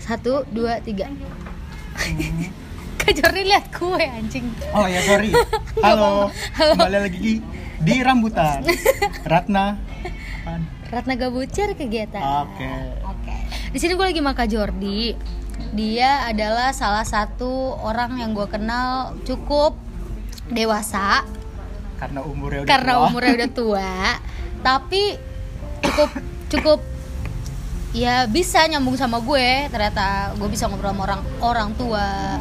Satu, dua, tiga. Kak Jordi lihat kue anjing. Oh ya sorry. Halo. Kembali lagi di, di rambutan. Ratna. Pan. Ratna Gabucer kegiatan. Oke. Oke. Di sini gue lagi sama Kak Jordi. Dia adalah salah satu orang yang gue kenal cukup dewasa Karena umurnya udah karena tua. umurnya udah tua, tapi cukup cukup ya bisa nyambung sama gue ternyata gue bisa ngobrol sama orang orang tua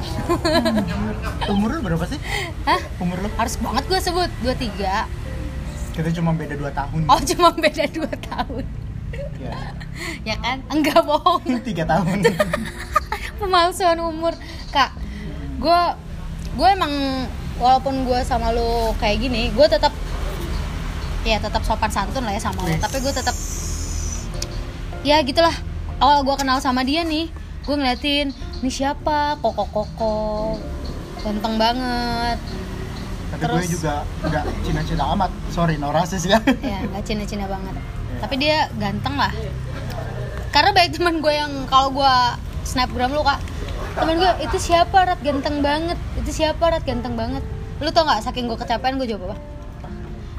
Umur lu berapa sih? Hah? Umur lu? harus banget gue sebut 23 Kita cuma beda 2 tahun. oh cuma beda 2 tahun Ya. ya kan enggak bohong 3 tahun. pemalsuan umur kak gue gue emang walaupun gue sama lo kayak gini gue tetap ya tetap sopan santun lah ya sama lo Yes. tapi gue tetap ya gitulah awal gue kenal sama dia nih gue ngeliatin ini siapa koko koko ganteng banget Tapi Terus. gue juga nggak cina-cina amat. Sorry, no rasis ya. ya nggak cina cina banget tapi dia ganteng lah karena baik teman gue yang kalau gue snapgram lu kak temen gue itu siapa rat ganteng banget itu siapa rat ganteng banget lu tau nggak saking gue kecapean gue jawab apa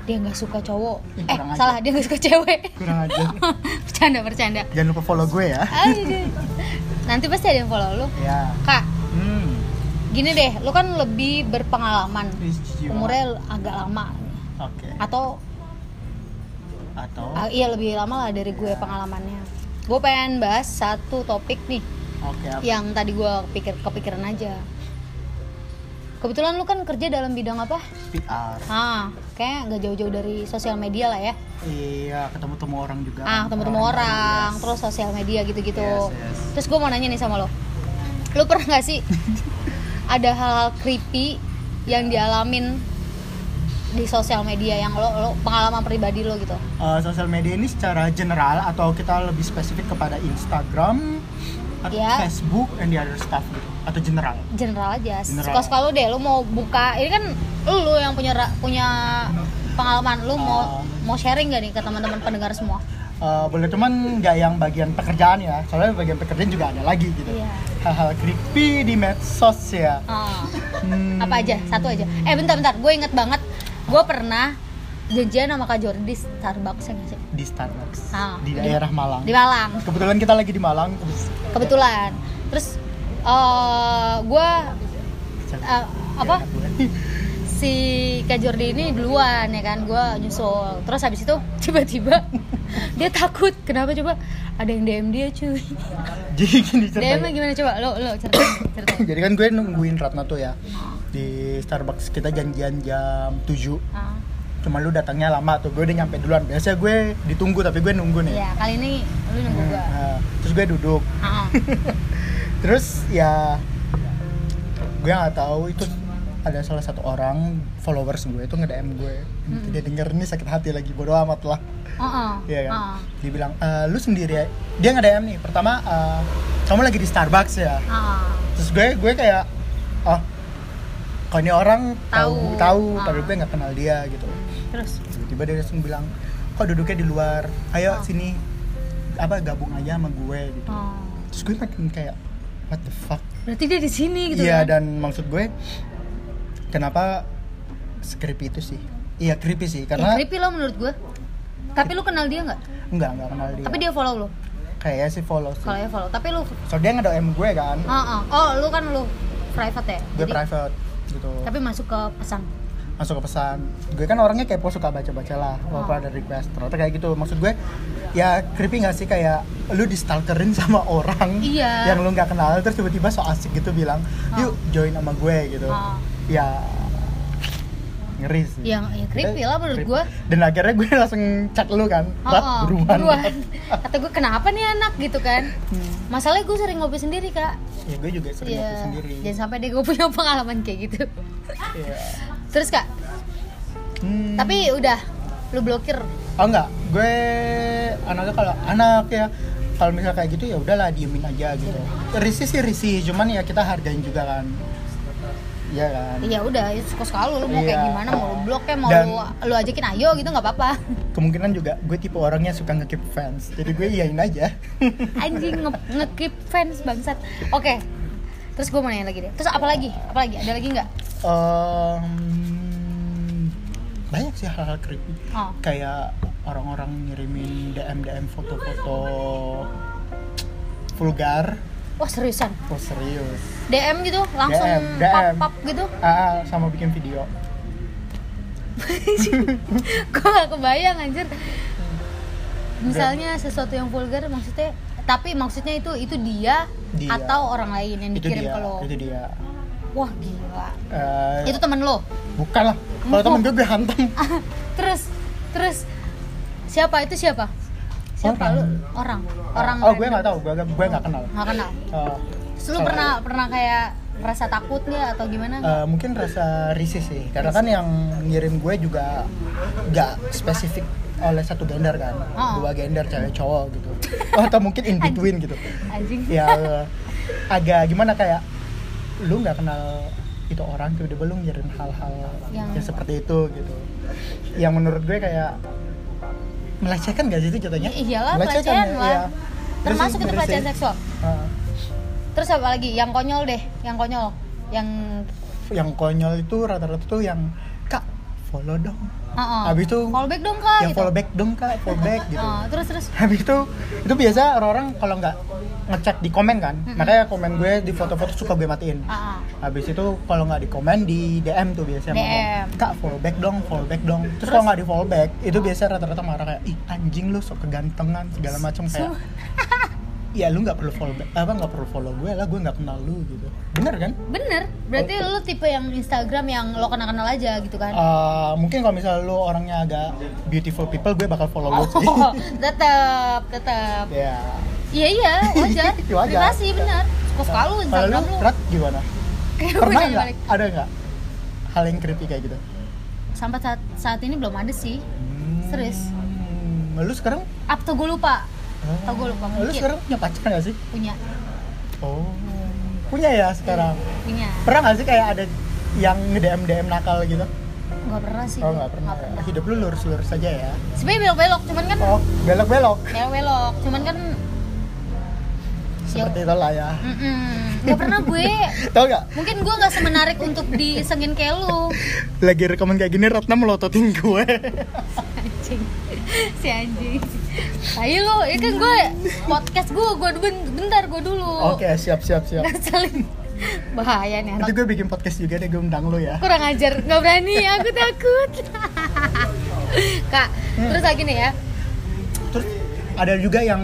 dia nggak suka cowok Ih, eh kurang ajar. salah dia nggak suka cewek Kurang aja. bercanda bercanda Jangan lupa follow gue ya. Aduh. nanti pasti ada yang follow lu Ya. kak Hmm. gini deh lu kan lebih berpengalaman Ih, jijik banget. umurnya agak lama Oke. atau Atau Ah, iya lebih lama lah dari gue pengalamannya. Gue pengen bahas satu topik nih Oke, apa? yang tadi gue pikir kepikiran aja. Kebetulan lu kan kerja dalam bidang apa? PR. Ah, kayak nggak jauh-jauh dari sosial media lah ya. Iya, ketemu-temu orang iya. juga. Ah, ketemu-temu Orang-orang, orang, yes. terus sosial media gitu-gitu. Yes, yes. Terus gue mau nanya nih sama lo, lu pernah nggak sih ada hal-hal creepy yang dialamin di sosial media yang lo, lo pengalaman pribadi lo gitu? Eh, sosial media ini secara general atau kita lebih spesifik kepada Instagram atau Iya. Facebook and the other stuff gitu atau general general aja General. suka-suka lu deh lu mau buka ini kan lu yang punya ra- punya pengalaman lu mau Ah. mau sharing gak nih ke teman-teman pendengar semua Eh, boleh cuman nggak yang bagian pekerjaan ya soalnya bagian pekerjaan juga ada lagi gitu Iya. hal-hal creepy di medsos ya Ah, Hmm, apa aja satu aja eh bentar-bentar gue inget banget gue pernah janjian sama kak Jordi di Starbucks ya nggak sih? di Starbucks Ah, di di- daerah Malang di Malang kebetulan kita lagi di Malang kebetulan terus eh gue eh, apa Iya, si Kak Jordi ini duluan ya kan gue nyusul terus habis itu tiba-tiba dia takut kenapa coba ada yang DM dia cuy Ah. jadi gini DM ceritanya gimana coba lo lo ceritain ceritain jadi kan gue nungguin Ratna tuh ya di Starbucks kita janjian jam 7 Ah, cuma lu datangnya lama tuh gue udah nyampe duluan biasanya gue ditunggu tapi gue nunggu nih Iya, kali ini lu nunggu gua Nah, terus gue duduk Ah, terus ya gue nggak tahu itu ada salah satu orang followers gue itu nge DM gue Hmm. dia denger nih sakit hati lagi bodo amat lah ah, ah, Iya kan ah, dia bilang "Eh, lu sendiri ya dia nge DM nih pertama eh, kamu lagi di Starbucks ya ah. terus gue gue kayak oh kalau ini orang Tahu. tahu tahu Ah. padahal gue nggak kenal dia gitu terus tiba-tiba dia langsung bilang kok duduknya di luar Oh. ayo sini apa gabung aja sama gue gitu oh. terus gue makin kayak what the fuck berarti dia di sini gitu iya kan? dan maksud gue kenapa creepy itu sih iya creepy Ih, sih karena creepy lo menurut gua tapi lu kenal dia nggak enggak enggak kenal dia, tapi dia follow lo kayaknya sih follow sih kalau dia follow tapi lu soalnya dia nge DM gue kan oh, oh. oh lu kan lu private ya gue Jadi- private gitu tapi masuk ke pesan Hmm. masuk ke pesan gue kan orangnya kepo suka baca baca lah walaupun Oh. ada request ternyata kayak gitu maksud gue ya creepy nggak sih kayak lu di stalkerin sama orang Iya. Ah. yang lu nggak kenal terus tiba-tiba so asik gitu bilang yuk join sama gue gitu Oh. ya ngeri sih Yang- ya, creepy lah menurut Creepy. gue. dan akhirnya gue langsung chat lu kan Oh, Rat, oh, buruan, buruan. Rat. kata gue kenapa nih anak gitu kan masalahnya gue sering ngopi sendiri kak ya gue juga Hmm. sering Iya. ngopi sendiri jangan sampai deh gue punya pengalaman kayak gitu Iya. terus kak Hmm. tapi udah lu blokir Oh enggak, gue anaknya kalau anak ya kalau misal kayak gitu ya udahlah diemin aja gitu. Risih sih risih, cuman ya kita hargain juga kan. Iya kan. ya udah ya suka suka lu lu mau kayak Iya. gimana mau lu blok ya mau Dan- lu, lu ajakin ayo gitu nggak apa-apa Kemungkinan juga gue tipe orangnya suka nge-keep fans. Jadi gue iyain aja. anjing nge, keep fans bangsat oke terus gue mau nanya lagi deh terus apa lagi apa lagi ada lagi nggak Em, banyak sih hal-hal creepy. oh Kayak orang-orang ngirimin DM-DM foto-foto vulgar. wah seriusan Oh serius. dm gitu langsung DM. pop pop gitu Ah, sama bikin video. gue gak kebayang anjir misalnya sesuatu yang vulgar maksudnya tapi maksudnya itu itu dia, Dia. atau orang lain yang Itu dikirim dia. ke lo Itu dia. wah gila Eh, itu temen lo bukan lah. Kalau temen gue gue hantam. terus terus siapa itu siapa siapa Orang. lu orang orang Oh gue nggak tahu. Gue gue nggak kenal. nggak kenal Eh, terus lu Salah. pernah pernah kayak merasa takut nggak atau gimana Eh, mungkin rasa risih sih karena kan yang ngirim gue juga nggak spesifik oleh satu gender kan Oh. dua gender cewek cowok gitu Oh, atau mungkin in between gitu anjing ya agak gimana kayak lu nggak kenal itu orang tiba-tiba lu ngirim hal-hal yang... Yang- seperti itu gitu yang menurut gue kayak melecehkan gak sih itu jatuhnya I- iyalah, pelecehan ya, lah. iya. Terus termasuk itu bener sih. pelecehan seksual Eh, terus apa lagi yang konyol deh yang konyol yang yang konyol itu rata-rata tuh yang kak follow dong uh-uh. Habis itu follow back dong kak yang gitu follow back dong kak follow back gitu Oh, terus terus habis itu itu biasa orang-orang kalau nggak ngecek di komen kan Mm-mm. makanya komen gue di foto-foto suka gue matiin Ah, ah. habis itu kalau nggak di komen di DM tuh biasanya DM. ngomong, kak follow back dong follow back dong terus, kalau nggak di follow back itu biasa rata-rata marah kayak ih anjing lu sok kegantengan segala macam kayak Sumpah. ya lu nggak perlu follow back apa nggak perlu follow gue lah gue nggak kenal lu gitu bener kan bener berarti lu tipe yang Instagram yang lo kenal kenal aja gitu kan Eh, mungkin kalau misalnya lu orangnya agak beautiful people gue bakal follow lu iya sih oh, tetap tetap ya iya iya wajar Wajar. privasi bener suka suka lu kalau lu Instagram lu Rat, gimana Kayak gue pernah nanya nggak balik. ada nggak hal yang creepy kayak gitu sampai saat saat ini belum ada sih Serius? Hmm, lu sekarang up to gue lupa Oh. atau gue lupa lu mungkin sekarang punya pacar nggak sih punya oh punya ya sekarang punya pernah nggak sih kayak ada yang nge-DM DM nakal gitu nggak pernah sih oh gue. nggak pernah ya. hidup lu lurus lurus aja ya sebenarnya belok belok cuman kan oh belok belok belok belok cuman kan seperti itu lah ya mm-mm. nggak pernah gue tau nggak mungkin gue nggak semenarik untuk disengin kayak lu lagi rekomen kayak gini Ratna melototin gue anjing si anjing ayo lo ya kan gue podcast gue gue ben- bentar gue dulu oke siap siap siap Ngeselin. bahaya nih nanti anak gue bikin podcast juga deh gue undang lu ya kurang ajar nggak berani aku takut kak terus lagi nih ya Terus ada juga yang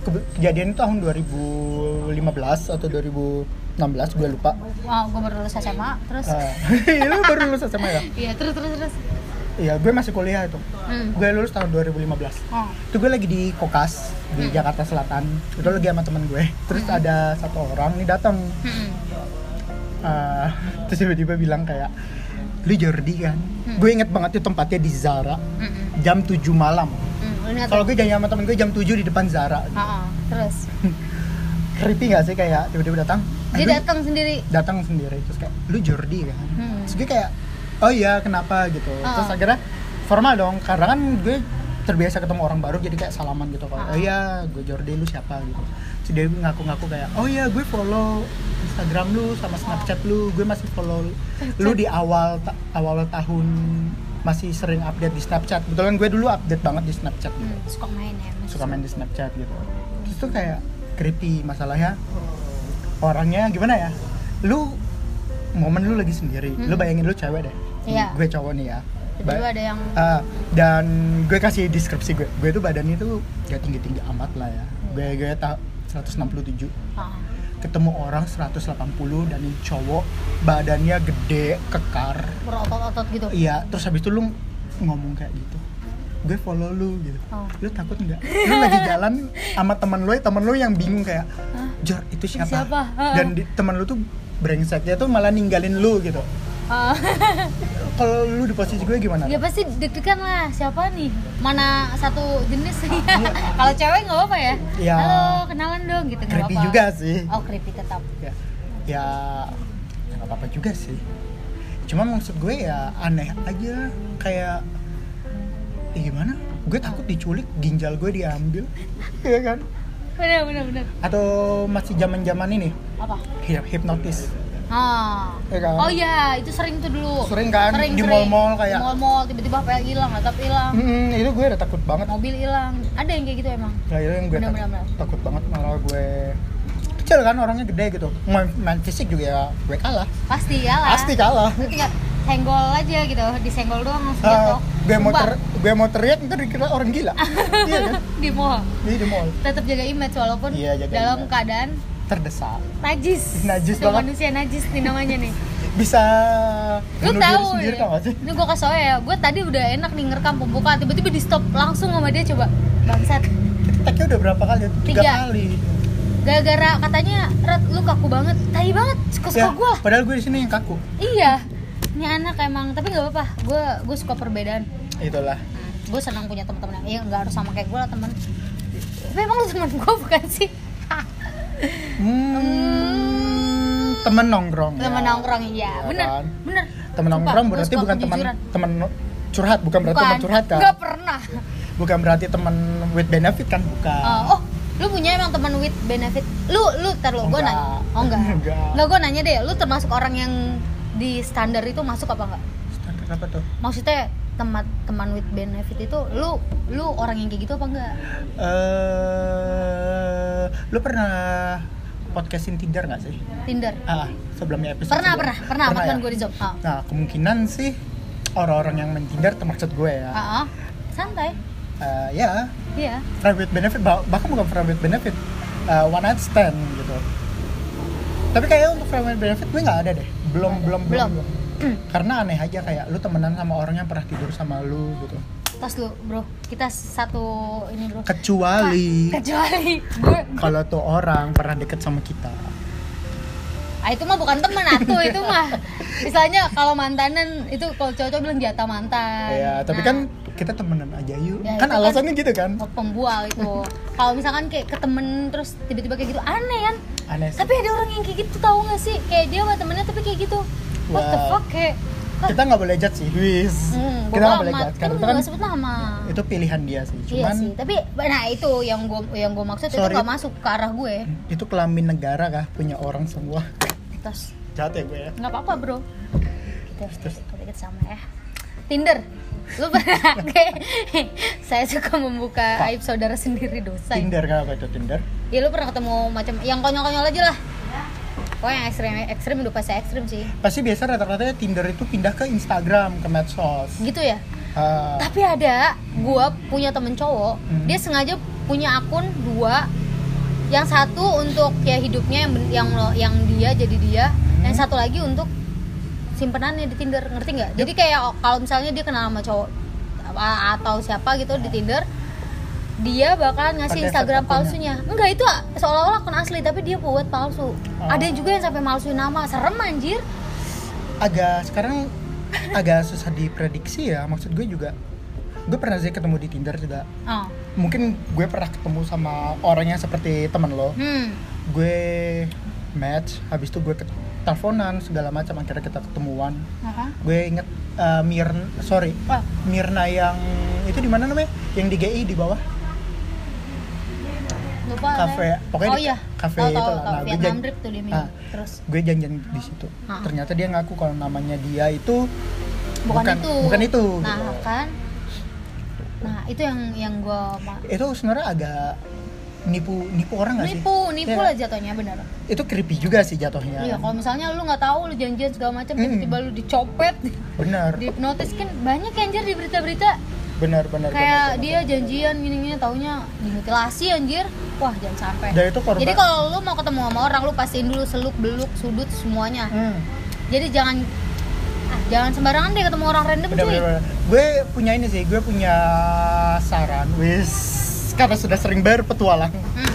kebe- kejadian itu tahun 2015 atau 2016 gue lupa. wow gue Oh, baru lulus SMA terus Eh, lu baru lulus SMA ya? iya terus terus terus Iya, gue masih kuliah itu. hmm. Gue lulus tahun 2015. oh. Itu gue lagi di Kokas di Jakarta Selatan. Itu lagi sama temen gue. Terus ada satu orang nih datang. hmm. Eh, terus tiba-tiba bilang kayak lu Jordi kan? Gue inget banget itu tempatnya di Zara Hmm. jam 7 malam. Hmm. Lu ingat Kalau gue janji sama temen gue jam 7 di depan Zara. Ah, ah. terus Creepy gak sih kayak tiba-tiba datang? dia "Lu datang sendiri datang sendiri terus kayak lu Jordi kan Hmm. terus gue kayak oh iya kenapa gitu Ah. terus akhirnya formal dong karena kan gue terbiasa ketemu orang baru jadi kayak salaman gitu kalau Ah. oh iya gue Jordi lu siapa gitu terus dia ngaku-ngaku kayak oh iya gue follow Instagram lu sama Snapchat lu gue masih follow lu di awal ta- awal tahun masih sering update di Snapchat kebetulan gue dulu update banget di Snapchat gitu hmm. suka main ya Mas. suka main di Snapchat gitu terus tuh kayak creepy masalahnya orangnya gimana ya lu momen lu lagi sendiri lu bayangin lu cewek deh Hmm. Iya. gue cowok nih ya tiba-tiba Ba- ada yang Ah, dan gue kasih deskripsi gue gue tuh badannya tuh gak tinggi tinggi amat lah ya Hmm. gue gue tak 167 Ah. ketemu orang 180 dan ini cowok badannya gede kekar berotot-otot gitu Iya, terus habis itu lu ngomong kayak gitu gue follow lu gitu Oh. lu takut nggak lu lagi jalan sama teman lu teman lu yang bingung kayak Jor itu siapa, Siapa? Ah. dan di- teman lu tuh brengseknya tuh malah ninggalin lu gitu Ah. kalau lu di posisi gue gimana Ya pasti deg-degan lah, siapa nih? Mana satu jenis Kalau cewek nggak apa-apa ya? Iya. Halo, kenalan dong gitu nggak creepy apa-apa. juga sih Oh, creepy tetap. ya, ya nggak apa-apa juga sih cuma maksud gue ya aneh aja kayak ya gimana gue takut diculik ginjal gue diambil ya kan bener bener bener atau masih zaman zaman ini apa hip- hipnotis Ah. Ya kan? Oh iya, itu sering tuh dulu. Sering kan? Di mall-mall Di kayak- mall-mall tiba-tiba pel hilang, laptop hilang, Hmm, itu gue udah takut banget mobil hilang. Ada yang kayak gitu emang. Nah, itu yang gue Bener, tak- bener, bener. takut banget malah gue kecil kan orangnya gede gitu main, main fisik juga ya gue kalah Pasti ya lah. pasti kalah Lu tinggal senggol aja gitu, disenggol doang langsung Ah, jatuh. gue mau Iya Sumpah, ter, gue mau teriak ntar dikira orang gila iya kan di mall. jadi di mall Tetap jaga image walaupun Iya, jaga dalam image. keadaan terdesak najis. Najis Itu banget. manusia najis nih namanya nih. bisa lu bunuh diri tahu sendiri ya? tau gak sih ini gue kasih tau ya gue tadi udah enak nih ngerekam pembukaan tiba-tiba di stop langsung sama dia coba bangsat tag-nya udah berapa kali tiga, Tiga. kali gara-gara katanya Red lu kaku banget tai banget suka-suka Ya, gue lah padahal gue di sini yang kaku iya ini anak emang tapi nggak apa-apa gue gue suka perbedaan itulah gue senang punya teman-teman yang- ya nggak harus sama kayak gue lah teman tapi emang lu teman gue bukan sih hmm, temen nongkrong teman ya. nongkrong iya Ya bener kan? bener temen Sumpah, nongkrong gua berarti suka bukan teman kejujuran. teman curhat bukan berarti teman curhat kan nggak pernah bukan berarti teman with benefit kan bukan Uh, oh lu punya emang teman with benefit lu lu ntar lu gue Enggak. nanya oh enggak Enggak. enggak gue nanya deh lu termasuk orang yang di standar itu masuk apa enggak Standar apa tuh maksudnya teman teman with benefit itu lu lu orang yang kayak gitu apa enggak eh lu pernah podcastin Tinder nggak sih Tinder ah sebelumnya episode pernah sebelum- pernah pernah sama teman ya? gue di job ah nah kemungkinan sih orang-orang yang main Tinder termasuk gue ya Ah, ah. santai Eh, ya iya friend with benefit bah- bahkan bukan friend with benefit eh, one night stand gitu tapi kayaknya untuk friend with benefit gue nggak ada deh belum belum belum, Belum. belum. karena aneh aja kayak lu temenan sama orang yang pernah tidur sama lu gitu tos lu bro kita satu ini bro kecuali kecuali gue kalau tuh orang pernah deket sama kita ah itu mah bukan teman atuh itu mah misalnya kalau mantanan itu kalau cowok bilang jatah mantan ya Nah, tapi kan kita temenan aja yuk Ya, itu kan kan- alasannya gitu kan pembual itu kalau misalkan kayak ke temen terus tiba-tiba kayak gitu aneh kan aneh sih tapi ada orang yang kayak gitu tahu nggak sih kayak dia sama temennya tapi kayak gitu what the Wow. fuck kayak "Hah, kita nggak boleh judge sih Wis. kan. hmm, kita bodo nggak boleh amat." judge karena kan itu kan nggak sebut nama itu pilihan dia sih iya cuman sih tapi nah itu yang gue yang gue maksud itu Sorry. nggak masuk ke arah gue itu kelamin negara kah punya orang semua terus jahat ya gue ya nggak apa-apa bro kita harus dikit sama ya Tinder lu pernah kayak saya suka membuka aib saudara sendiri dosa ya. Tinder kenapa itu Tinder? ya lu pernah ketemu macam yang konyol-konyol aja lah Oh yang ekstrim ekstrim udah pasti ekstrim sih Pasti biasa rata-rata ya Tinder itu pindah ke Instagram, ke medsos. gitu ya Ah, tapi ada gua punya temen cowok Hmm. dia sengaja punya akun dua yang satu untuk ya hidupnya yang ben- yang lo- yang dia jadi dia Hmm. yang satu lagi untuk simpenannya di Tinder ngerti nggak jadi kayak o- kalau misalnya dia kenal sama cowok a- atau siapa gitu di Tinder dia bakal ngasih Hmm. Pakai Instagram fake akunnya. palsunya enggak itu a- seolah-olah akun asli tapi dia buat Oh. palsu ada juga yang sampai malsuin nama serem anjir agak sekarang agak susah diprediksi ya. Maksud gue juga gue pernah sih ketemu di Tinder juga. oh. Mungkin gue pernah ketemu sama orang yang seperti teman lo. hmm Gue match, habis itu gue ket- teleponan segala macam akhirnya kita ketemuan. Apa? Gue inget eh, Mirn sorry Wah, Mirna yang itu di mana namanya? Yang di GI di bawah. lupa Cafe, saya. ya? pokoknya oh di- iya cafe tahu, itu tahu, tahu. lah. Nah, gue Vietnam jadi- drip tuh dia minum Ah. terus gue janjian di situ. Ah. Ternyata dia ngaku kalau namanya dia itu bukan, Bukan- itu bukan itu, nah gitu. kan nah itu yang yang gue ma- itu sebenarnya agak nipu nipu orang nggak sih? nipu nipu Iya. Ya. lah jatuhnya bener Itu creepy juga sih jatuhnya. iya kalau misalnya lu nggak tahu lu janjian segala macam Mm. tiba-tiba lu dicopet Benar, dihipnotis kan banyak ya, anjir di berita-berita benar, benar. benar, kayak benar. dia janjian gini-gini taunya dimutilasi anjir wah jangan sampai Dan itu korban. ya? jadi kalau lu mau ketemu sama orang lu pastiin dulu seluk beluk sudut semuanya Hmm, jadi jangan ah, jangan sembarangan deh ketemu orang random benar, cuy benar, benar. Gue punya ini sih, gue punya saran. Wis, karena sudah sering berpetualang. Hmm.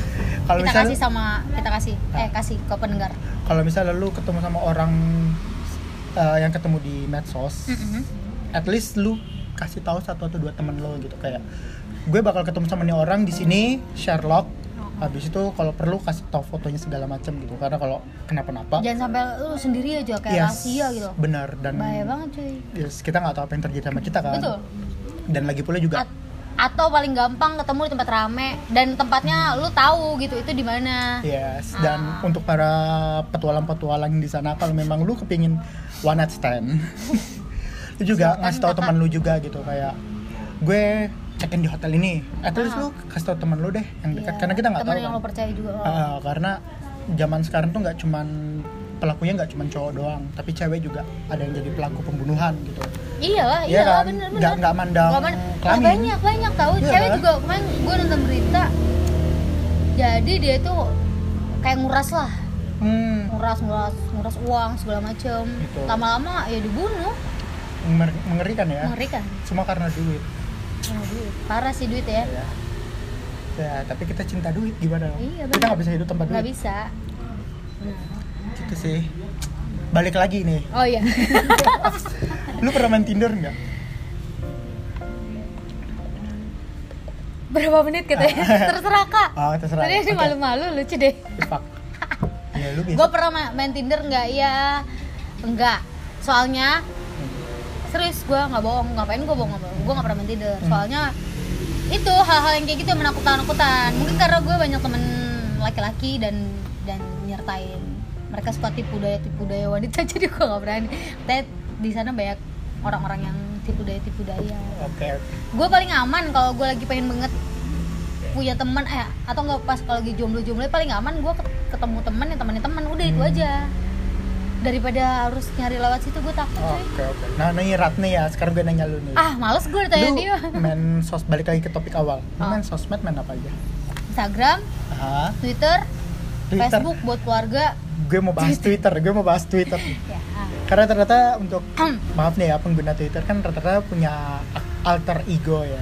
Kalau kita misalnya Nah. kasih sama kita kasih eh kasih ke pendengar kalau misalnya lu ketemu sama orang eh, yang ketemu di medsos, at least lu kasih tahu satu atau dua temen lo gitu kayak gue bakal ketemu sama nih orang di sini Sherlock Oh. habis itu kalau perlu kasih tau fotonya segala macam gitu karena kalau kenapa-napa jangan sampai lu sendiri aja kayak yes, rahasia gitu benar dan bahaya banget cuy yes, kita nggak tahu apa yang terjadi sama kita kan betul dan lagi pula juga At- atau paling gampang ketemu di tempat rame dan tempatnya lu tahu gitu itu di mana Yes, Ah. dan untuk para petualang-petualang di sana kalau memang lu kepingin one night stand, lu juga Silakan, ngasih tau kakak. teman lu juga gitu kayak gue check in di hotel ini, at least lu kasih tau teman lu deh yang Ah. Iya. dekat kan karena kita nggak Temen tahu yang kan. lo percaya juga Ah, ah, karena zaman sekarang tuh nggak cuman pelakunya nggak cuman cowok doang, tapi cewek juga ada yang jadi pelaku pembunuhan gitu. iyalah Iya iyalah kan? Nah, bener bener Nggak nggak mandang Gak man- Wah, kelamin. banyak banyak tahu Iya cewek kan? juga kemarin gue nonton berita jadi dia tuh kayak nguras lah Hmm, nguras nguras nguras uang segala macem Gitu. lama-lama ya dibunuh kan? mer- mengerikan ya. mengerikan Semua karena duit. Bunuh duit. parah sih duit ya ya. Ya, tapi kita cinta duit gimana dong? Iya, kita benar. nggak bisa hidup tanpa nggak duit. bisa Gitu sih. Balik lagi nih. oh iya Lu pernah main Tinder nggak? berapa menit katanya terserah kak Ah, terserah. tadi ini Oke. malu-malu lucu deh Fuck. Ya lu biasa. gue pernah ma- main Tinder nggak ya enggak soalnya Hmm. serius gue nggak bohong ngapain gue bohong gue nggak pernah main Tinder Hmm. soalnya itu hal-hal yang kayak gitu yang menakut-nakutan mungkin karena gue banyak temen laki-laki dan dan nyertain mereka suka tipu daya tipu daya wanita jadi gue nggak berani tapi di sana banyak orang-orang yang tipu daya tipu daya Oke. gue paling aman kalau gue lagi pengen banget punya teman eh atau nggak pas kalau lagi jomblo-jomblo paling aman gue ketemu teman yang temannya teman udah itu Hmm. aja daripada harus nyari lewat situ gue takut coy. Oke, oke. Nah, nih Ratna ya, sekarang gue nanya lu nih. ah males gue ditanya lu dia main sos balik lagi ke topik awal. Lu Ah. main sosmed main apa aja? Instagram Ah, Twitter, Twitter. Facebook buat keluarga Gue mau bahas Twitter, gue mau bahas Twitter. ya Karena ternyata untuk ah. maaf nih ya pengguna Twitter kan rata-rata punya ak- alter ego ya.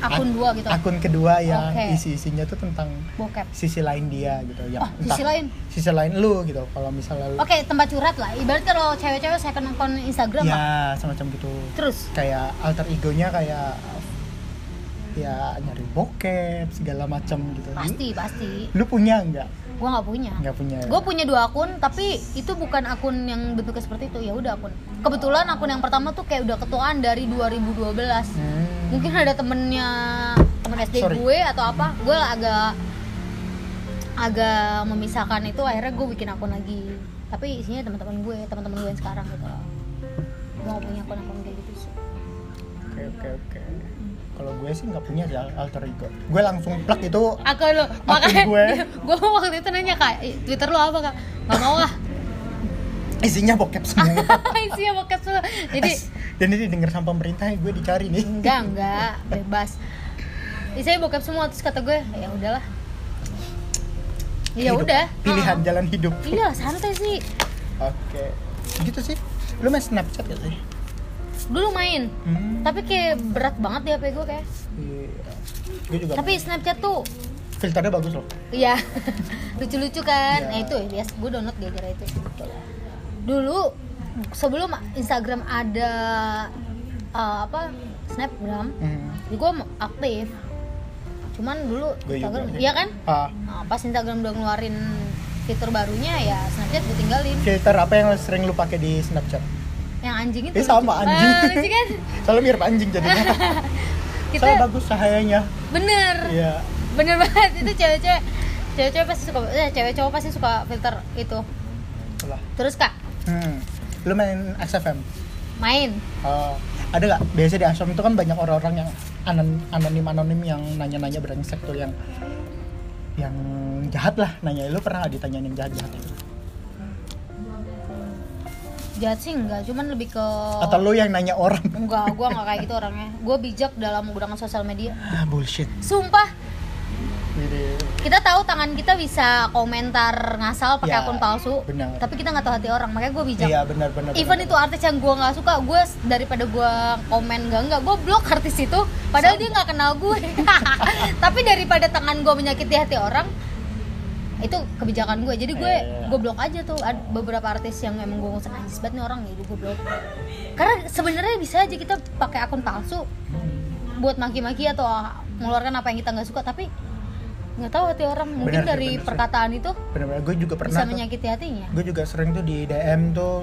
akun dua gitu akun kedua yang Oke. isi-isinya tuh tentang bokep sisi lain dia gitu ya Oh, sisi lain? Oh, sisi lain lu gitu kalau misalnya lu oke tempat curhat lah ibarat kalau cewek-cewek saya akan nonton Instagram lah ya semacam gitu terus kayak alter egonya kayak ya nyari bokep segala macam gitu pasti pasti lu punya nggak gue nggak punya nggak punya ya? gue punya dua akun tapi itu bukan akun yang bentuknya seperti itu ya udah akun kebetulan akun yang pertama tuh kayak udah ketuaan dari 2012 Hmm. mungkin ada temennya temen SD Sorry. gue atau apa gue agak agak memisahkan itu akhirnya gue bikin akun lagi tapi isinya teman-teman gue teman-teman gue yang sekarang gitu loh gue nggak punya akun-akun kayak gitu sih oke oke oke kalau gue sih nggak punya sih al- alter ego gue langsung plak itu aku lo makanya gue gue. gue waktu itu nanya kak "Eh, twitter lo apa kak nggak mau ah isinya bokep semua isinya bekas lo jadi dan ini denger sama pemerintah gue dicari nih enggak enggak bebas isinya bokep semua terus kata gue ya udahlah ya Hidup. udah pilihan jalan hidup Uh-uh. iya santai sih Oke. Gitu sih. Lu main Snapchat gak sih? dulu main Hmm. tapi kayak berat banget di hp gue kayak Iya. Gue juga. tapi snapchat tuh main. filternya bagus loh. ya lucu-lucu kan Iya. nah itu ya biasa gue download gara-gara itu dulu sebelum Instagram ada eh, apa snapgram Hmm. jadi gue aktif cuman dulu Gue juga. Instagram sih. iya kan Ah, Nah, pas Instagram udah ngeluarin fitur barunya ya Snapchat gue tinggalin filter apa yang sering lu pakai di Snapchat? yang anjing itu Eh lucu. sama anjing. Ah, lucu kan Soalnya mirip anjing jadinya. kita Soalnya bagus cahayanya. bener Iya. bener banget itu cewek-cewek cewek-cewek pasti suka eh, cewek cowok pasti suka filter itu Itulah. terus kak Hmm. Lu main XFM? main Oh. ada nggak? Biasanya di Asom itu kan banyak orang-orang yang anon- anonim-anonim yang nanya-nanya brengsek tuh yang yang jahat lah nanya lu pernah nggak ditanyain yang jahat-jahat jahat sih enggak cuman lebih ke atau lu yang nanya orang enggak gue enggak kayak gitu orangnya gue bijak dalam menggunakan sosial media ah, bullshit sumpah Jadi, kita tahu tangan kita bisa komentar ngasal pakai Ya, akun palsu benar. tapi kita nggak tahu hati orang makanya gue bijak Iya benar benar. Even benar. itu artis yang gue nggak suka, gue s- daripada gue komen gak nggak, gue blok artis itu. Padahal dia nggak kenal gue. Tapi daripada tangan gue menyakiti hati orang, itu kebijakan gue. Jadi gue Iya. gue blok aja tuh Ada beberapa artis yang emang gue nggak anjis banget nih orang jadi gue blok. Karena sebenarnya bisa aja kita pakai Hmm. ah, akun palsu buat maki-maki atau ngeluarkan apa yang kita nggak suka, tapi nggak tahu hati orang mungkin Benar sih, dari benar sih. perkataan itu benar-benar gue juga bisa pernah tuh- menyakiti hatinya gue juga sering tuh di DM tuh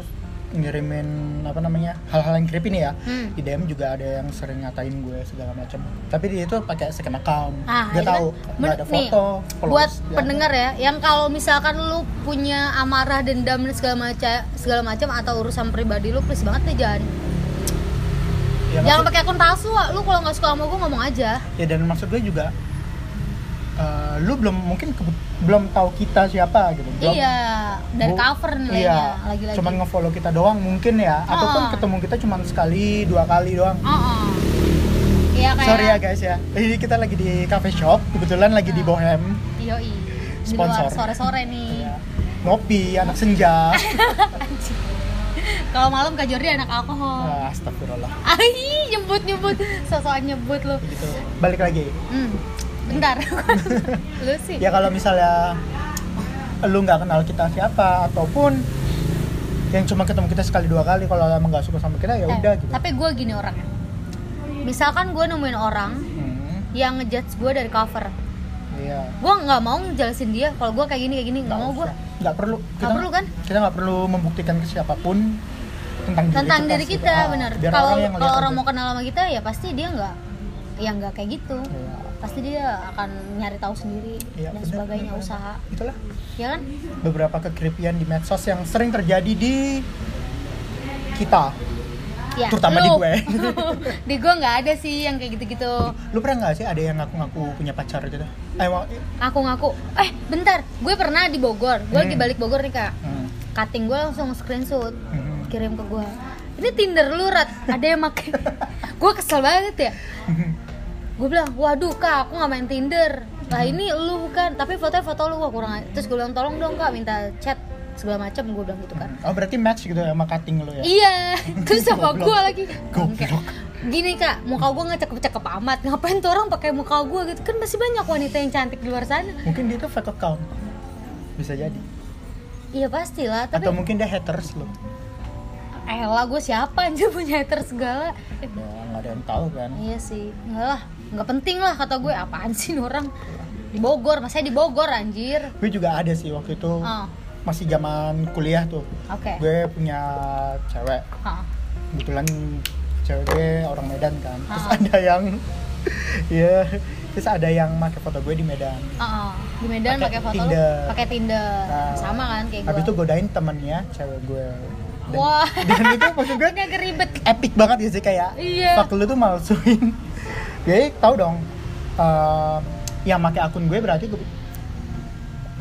ngirimin apa namanya hal-hal yang creepy nih ya Hmm. di DM juga ada yang sering ngatain gue segala macam tapi dia itu pakai scam account Ah, dia itu kan. tahu nggak Men- ada nih, foto close, buat nggak ada. pendengar ya yang kalau misalkan lu punya amarah dendam dan segala macam segala macam atau urusan pribadi lu please banget nih jangan ya, jangan maksud- pakai akun palsu ah. lu kalau nggak suka sama gue ngomong aja ya, dan maksud gue juga eh, lu belum mungkin ke- belum tahu kita siapa gitu belum iya dari Bu- cover nilainya iya, lagi-lagi cuman ngefollow kita doang mungkin ya ataupun Ah. ketemu kita cuman sekali dua kali doang Oh, oh. iya kayak sorry ya guys ya ini kita lagi di cafe shop kebetulan lagi di Ah. Bohem Yoi. Di Sponsor. luar sore-sore nih Ya. ngopi anak senja kalau malam Kak Jordi anak alkohol Ah, astagfirullah Ai, nyebut nyebut sosokan nyebut lu gitu balik lagi hmm. bentar lu sih ya kalau misalnya lu nggak kenal kita siapa ataupun yang cuma ketemu kita sekali dua kali kalau emang nggak suka sama kita ya Eh, udah gitu Tapi gue gini orangnya. Misalkan gue nemuin orang Hmm, yang ngejudge gue dari cover, iya gue nggak mau ngejelasin dia kalau gue kayak gini kayak gini nggak mau gue usah. nggak perlu Nggak perlu kan? kita nggak perlu membuktikan ke siapapun tentang diri tentang kita, diri sih. kita Ah, benar. biar Kalau yang kalau lihat orang aja. mau kenal sama kita ya pasti dia nggak ya nggak kayak gitu. Iya. Pasti dia akan nyari tahu sendiri Iya, dan benar, sebagainya benar. usaha, itulah ya kan? beberapa kekripian di medsos yang sering terjadi di kita Ya, Terutama di lu. gue. di gue nggak ada sih yang kayak gitu-gitu. lu pernah nggak sih ada yang ngaku-ngaku punya pacar gitu eh mau- Aku ngaku, eh bentar, gue pernah di Bogor, gue lagi Hmm. balik Bogor nih kak. hmm, Cutting gue langsung screenshot. hmm. kirim ke gue ini Tinder lu Rat ada yang make gue kesel banget ya gue bilang waduh kak aku nggak main Tinder lah ini lu bukan tapi fotonya foto lu wah kurang aja." terus gue bilang tolong dong kak minta chat segala macam gue bilang gitu kan Oh berarti match gitu ya sama cutting lo ya? iya terus sama Goblok. gue lagi Goblok. gini kak muka gue nggak cakep cakep amat ngapain tuh orang pakai muka gue gitu kan masih banyak wanita yang cantik di luar sana Mungkin dia tuh fake account Bisa jadi iya pastilah Atau tapi mungkin dia haters lo elah gue siapa anjir punya haters segala Ya nggak ada yang tahu kan Iya sih, enggak lah, nggak penting lah kata gue apaan sih ini orang di Bogor, masa di Bogor anjir. Gue juga ada sih waktu itu Oh, Masih zaman kuliah tuh oke. Gue punya cewek Oh, Kebetulan cewek gue orang Medan kan Terus Ah. ada yang Iya Terus ada yang make foto gue di Medan oh, oh. di Medan Pakai pakai foto lu, Tinder. pakai Tinder, Nah, sama kan kayak gue. Habis itu godain temennya cewek gue Dan- Wah. Dan itu maksud gue Ini agak ribet. epic banget ya sih kayak Iya. fuck lu tuh malsuin jadi tahu dong eh, yang pakai akun gue berarti gue-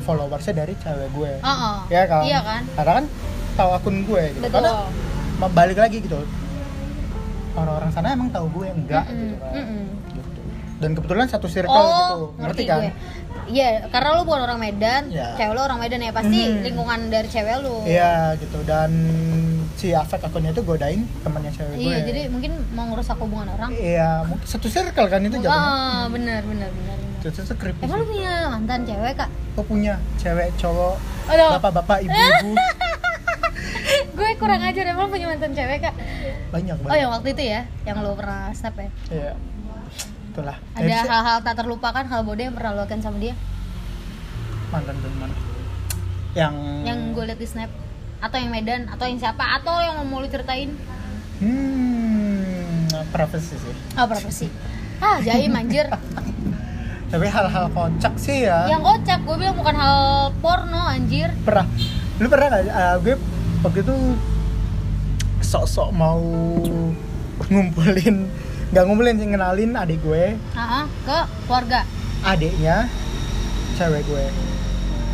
followersnya dari cewek gue Oh, oh. ya kan Iya kan? karena kan tahu akun gue gitu Betul. karena ma- balik lagi gitu orang-orang sana emang tahu gue enggak gitu Mm-mm, kan mm-mm. Gitu. dan kebetulan satu circle gitu Oh, ngerti ngerti kan gue. Iya, karena lu bukan orang Medan, Iya. cewek lu orang Medan ya pasti Hmm. lingkungan dari cewek lu. iya gitu dan si Afek akunnya itu godain temannya cewek gue Iya, jadi mungkin mau ngerusak hubungan orang. iya mungkin satu circle kan itu jatuhnya Oh, benar benar benar. benar. itu itu creepy Emang sih. lu punya mantan cewek, Kak? Kok punya cewek, cowok, Aduh. bapak-bapak, Oh, ibu-ibu Eh, gue kurang ajar emang punya mantan cewek kak banyak oh yang banget. waktu itu ya yang lo pernah snap ya Iya. Itulah. ada Jadi, hal-hal tak terlupakan hal bodoh yang pernah lo lakukan sama dia mantan gue mana? Yang yang gue liat di snap atau yang Medan atau yang siapa atau yang mau lo ceritain hmm privacy sih. ah berapa sih ah jaim anjir Tapi hal-hal kocak sih ya. yang kocak gue bilang bukan hal porno anjir Pernah. Lu pernah nggak? eh, gue waktu itu sok-sok mau ngumpulin nggak ngumpulin sih ngenalin adik gue ah ah, ke keluarga adiknya cewek gue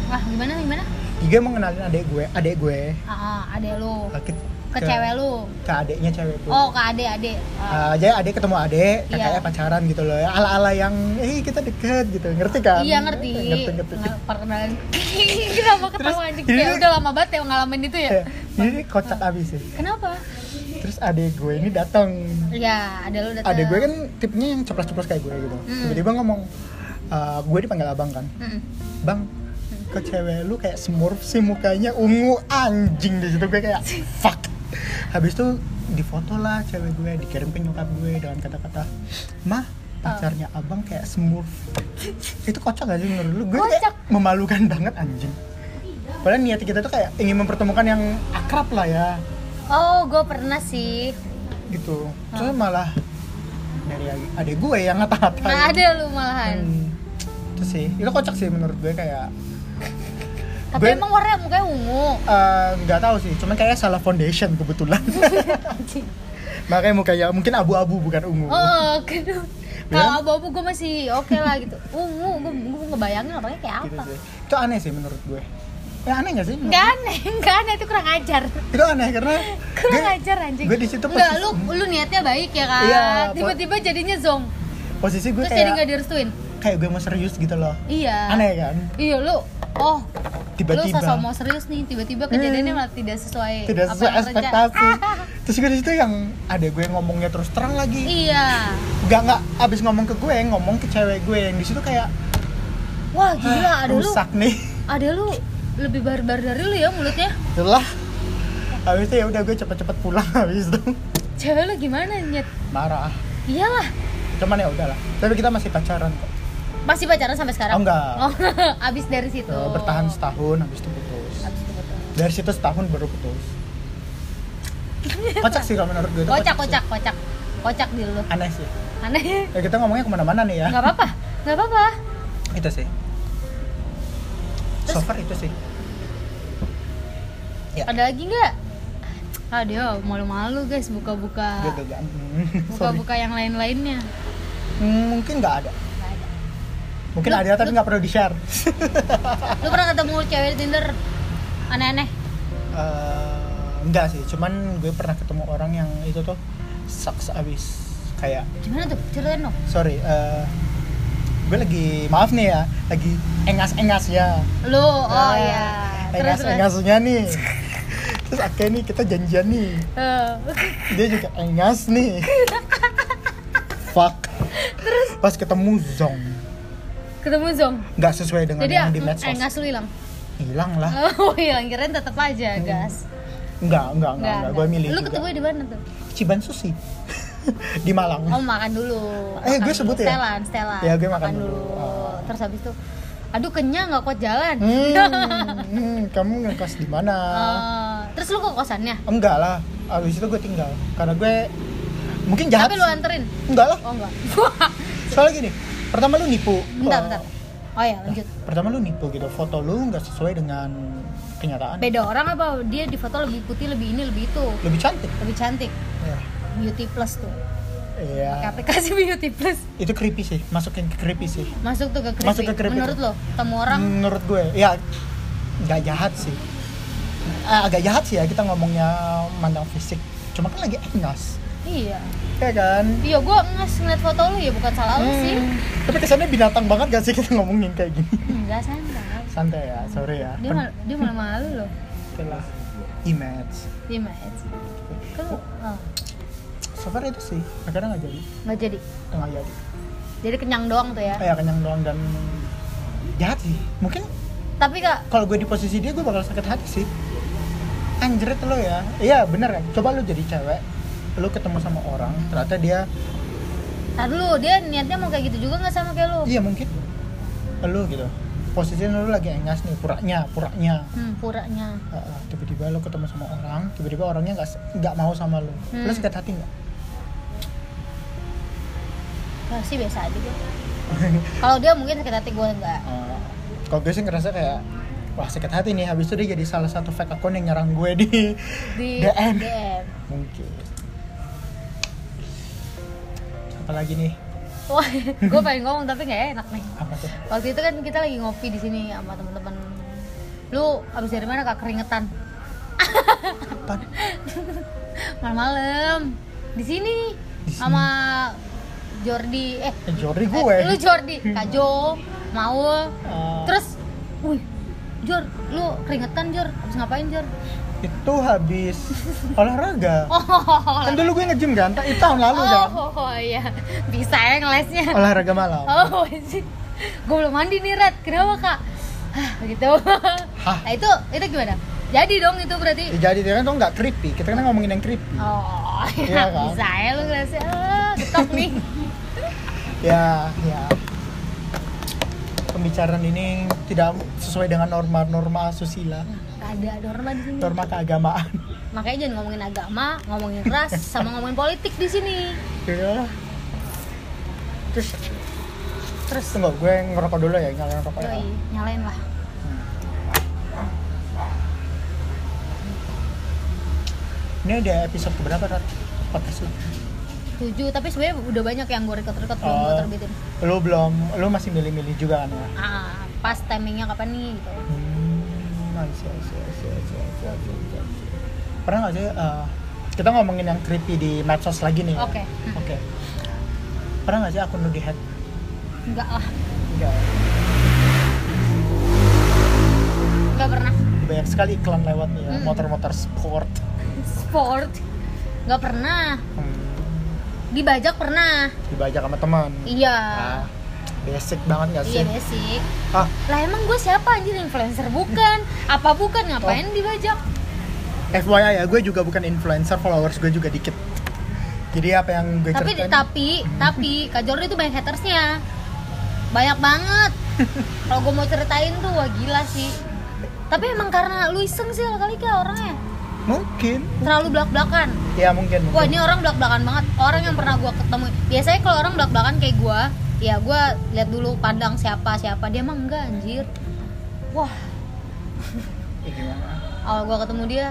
wah gimana gimana juga mau ngenalin adik gue adik gue ah ah, ade lo ke, ke cewek lo ke adiknya cewek gue oh ke ade ade Ah. Uh, jadi adik ketemu adik, kakaknya Iya. pacaran gitu loh. Ala-ala yang, eh kita deket gitu, ngerti kan? Iya ngerti. Ngerti, ngerti. Nggak, Perkenalan. Kenapa ketawa anjing? jadi- Ya udah lama banget ya ngalamin itu ya. Iya. Jadi kocak abis sih. Kenapa? Terus adik gue ini datang. Ya, ada lu datang. Adik gue kan tipenya yang ceplos-ceplos kayak gue gitu. Hmm. Tiba-tiba ngomong, uh, gue dipanggil abang kan. Mm-mm. Bang, ke cewek lu kayak semurf sih mukanya ungu anjing di situ gue kayak fuck. Habis itu difoto lah cewek gue, dikirim ke nyokap gue dengan kata-kata, mah pacarnya Ah. abang kayak smurf itu kocak gak sih menurut lu gue Kocak. kayak memalukan banget anjing padahal niat kita tuh kayak ingin mempertemukan yang akrab lah ya Oh, gue pernah sih. gitu Ah. terus malah dari adek gue yang ngata-ngatain Nah, ada lu malahan. Hmm. Kan. itu sih itu kocak sih menurut gue kayak Tapi Gue- emang warnanya mukanya ungu. eh, nggak tahu sih cuman kayaknya salah foundation kebetulan makanya mukanya mungkin abu-abu bukan ungu Oh, kedua. Kalau Ya. abu-abu gue masih oke lah gitu. Ungu, gue gue ngebayangin orangnya kayak gitu apa. sih itu aneh sih menurut gue ya aneh gak sih menurut Enggak aneh, enggak aneh itu kurang ajar. itu aneh karena Kurang gue- ajar anjing. gue di situ Enggak, persis- lu lu niatnya baik ya kan. Iya, apa- Tiba-tiba jadinya zonk. posisi gue Terus jadi kayak nggak direstuin. kayak gue mau serius gitu loh Iya. aneh kan Iya, lu oh lu tiba-tiba Hmm. sosok mau serius nih, tiba-tiba kejadiannya malah tidak sesuai tidak apa sesuai yang rencana. ekspektasi terus gue di situ yang ada gue ngomongnya terus terang lagi Iya. nggak nggak abis ngomong ke gue ngomong ke cewek gue yang di situ kayak Wah, gila "Ah, ada lu. rusak nih Ada lu lebih barbar dari lu ya mulutnya. itulah habis itu ya udah gue cepet-cepet pulang habis itu Cewek lu gimana nyet? marah Iyalah, cuman ya udahlah tapi kita masih pacaran kok masih pacaran sampai sekarang? Oh, enggak. Oh, abis dari situ. Eh, bertahan setahun habis itu putus Abis itu betul. dari situ setahun baru putus kocak sih kalau menurut gue itu Kocak, sih. kocak, kocak, kocak di lu. aneh sih Aneh. ya kita ngomongnya kemana-mana nih ya Gak apa-apa, gak apa-apa. itu sih Terus- so far itu sih Ya. Ada lagi nggak? Aduh, malu-malu guys buka-buka, gue gagal Hmm, sorry. buka-buka yang lain-lainnya. Hmm, mungkin nggak ada Nggak ada. mungkin Lu- ada tapi lu- nggak perlu di share Lu pernah ketemu cewek di Tinder aneh-aneh? enggak Eh, sih cuman gue pernah ketemu orang yang itu tuh sucks abis kayak Gimana tuh? Ceritain dong. sorry eh, gue lagi maaf nih ya lagi engas-engas ya Lu, oh Ah, iya. Terus terus. engas-engasnya nih terus akhirnya nih kita janjian nih Eh, dia juga engas nih fuck terus pas ketemu zong ketemu Zong. nggak sesuai dengan Jadi yang di mm, medsos engas lu hilang. hilang lah Oh hilang kirain tetap aja Hmm. gas. nggak nggak nggak nggak gue milih Lu juga. ketemu di mana tuh? Ciban Susi di Malang Oh makan dulu. Eh, Makan gue sebut dulu. ya? Stelan, stelan. Ya, gue makan dulu. Oh. Terus habis itu, aduh kenyang nggak kuat jalan. hmm, hmm, kamu ngekos di mana Eh, terus lu ke kosannya? enggak lah abis itu gue tinggal karena gue mungkin jahat Tapi lu sih. anterin? enggak lah Oh enggak. soalnya gini pertama lu nipu bentar, Eh, bentar. Oh ya lanjut. pertama lu nipu gitu foto lu nggak sesuai dengan kenyataan Beda orang apa? Dia di foto lebih putih, lebih ini, lebih itu, lebih cantik lebih cantik. ya Beauty plus tuh. iya Pakai aplikasi beauty plus. itu creepy sih masukin ke creepy sih Masuk tuh ke creepy. Masuk ke creepy Menurut lo, tuh. ketemu orang menurut gue ya nggak jahat sih Eh, agak jahat sih ya kita ngomongnya mandang fisik cuma kan lagi engas Iya. ya kan Iya, gua ngas ngeliat foto lu ya bukan salah lu sih. Hmm, tapi kesannya binatang banget gak sih kita ngomongin kayak gini Enggak santai. santai ya sorry ya Dia mal, dia malah malu loh. Oke lah. image Dia main. Kalau oh, so far itu sih akhirnya nggak jadi nggak jadi. nggak jadi Jadi kenyang doang tuh ya. kayak kenyang doang dan jahat sih mungkin Tapi kak, kalau gue di posisi dia gue bakal sakit hati sih anjret lo ya iya bener kan coba lu jadi cewek lu ketemu sama orang ternyata dia tar dulu dia niatnya mau kayak gitu juga nggak sama kayak lu? iya mungkin lu gitu posisinya lu lagi engas nih puranya puranya Hmm, puranya. Heeh, tiba-tiba lu ketemu sama orang tiba-tiba orangnya nggak se- nggak mau sama lu lu Hmm. sakit hati nggak Pasti Nah, biasa aja gue. Kalau dia mungkin sakit hati gue enggak. Eh, kalau gue sih ngerasa kayak wah sakit hati nih habis itu dia jadi salah satu fake account yang nyerang gue di Di DM. DM. mungkin apalagi nih Wah, gue pengen ngomong tapi nggak enak nih. apa tuh Waktu itu kan kita lagi ngopi di sini sama teman-teman. Lu abis dari mana kak keringetan? apa Malam-malam di sini Di sini. sama Jordi eh Eh, Jordi gue Eh, lu Jordi, Kak Jo, Maul. Eh, Terus, wih, Jor, lu keringetan Jor, habis ngapain Jor? itu habis olahraga Oh, kan dulu gue nge-gym kan ta- itu tahun lalu kan oh, oh, iya, bisa ya ngelesnya. olahraga malam Oh, sih, gue belum mandi nih Rat, kenapa kak? Hah, gitu. Hah? Nah itu, itu gimana? Jadi dong itu berarti. Ya, jadi dia kan tuh nggak creepy kita kan ngomongin yang creepy Oh, Iya iya, kan? bisa ya lu ngelesnya, ah, getok nih. ya ya pembicaraan ini tidak sesuai dengan norma-norma asusila ada norma di sini norma keagamaan makanya jangan ngomongin agama ngomongin ras sama ngomongin politik di sini Yaudahlah. terus terus tunggu gue ngerokok dulu ya nyalain rokok ya yoi, nyalain lah ini ada episode keberapa Rat? podcast lu tujuh tapi sebenarnya udah banyak yang gue record record belum gue Oh. terbitin lu belum lu masih milih-milih juga kan ya ah pas timingnya kapan nih gitu Hmm, I see, I see, I see, I see, I see, I see, I see. Pernah nggak sih eh, kita ngomongin yang creepy di medsos lagi nih? ya? Oke. Hmm. Oke. Pernah nggak sih akun lu di hack? enggak lah Enggak. enggak pernah Banyak sekali iklan lewat nih ya, Hmm. motor-motor sport. sport enggak pernah Hmm, dibajak pernah dibajak sama teman. iya Ah, basic banget nggak iya sih? basic ah, lah emang gue siapa anjir influencer bukan apa bukan ngapain Oh. dibajak FYI ya, gue juga bukan influencer, followers gue juga dikit. Jadi apa yang gue tapi ceritain? tapi tapi Kak Jordi itu banyak hatersnya banyak banget kalau gue mau ceritain tuh wah gila sih tapi emang karena lu iseng sih kali kali orangnya Mungkin. terlalu belak belakan Ya mungkin. wah mungkin. ini orang belak belakan banget orang yang pernah gue ketemu biasanya kalau orang belak belakan kayak gue ya gue lihat dulu pandang siapa siapa dia emang enggak anjir wah Ya, gimana? awal gue ketemu dia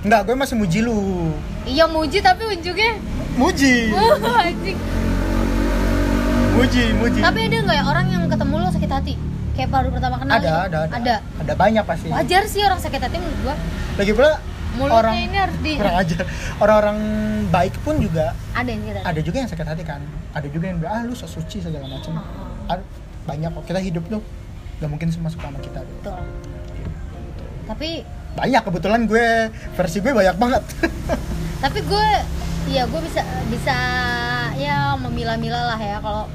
Enggak, gue masih muji lu. iya muji tapi unjuknya Muji. wah anjing Muji, muji. tapi ada nggak ya orang yang ketemu lo sakit hati kayak baru pertama kenal ada, gitu? ada, ada, Ada banyak pasti. wajar sih orang sakit hati menurut gua Lagi pula mulutnya orang ini harus di kurang ajar. Orang-orang baik pun juga ada yang tidak ada ada juga yang sakit hati kan. Ada juga yang bilang, "Ah, lu sok suci segala macam." Oh, Ada banyak kok. Kita hidup tuh gak mungkin semua suka sama kita gitu. betul tapi Banyak kebetulan gue versi gue banyak banget. tapi gue ya gue bisa bisa ya memilah-milah lah ya kalau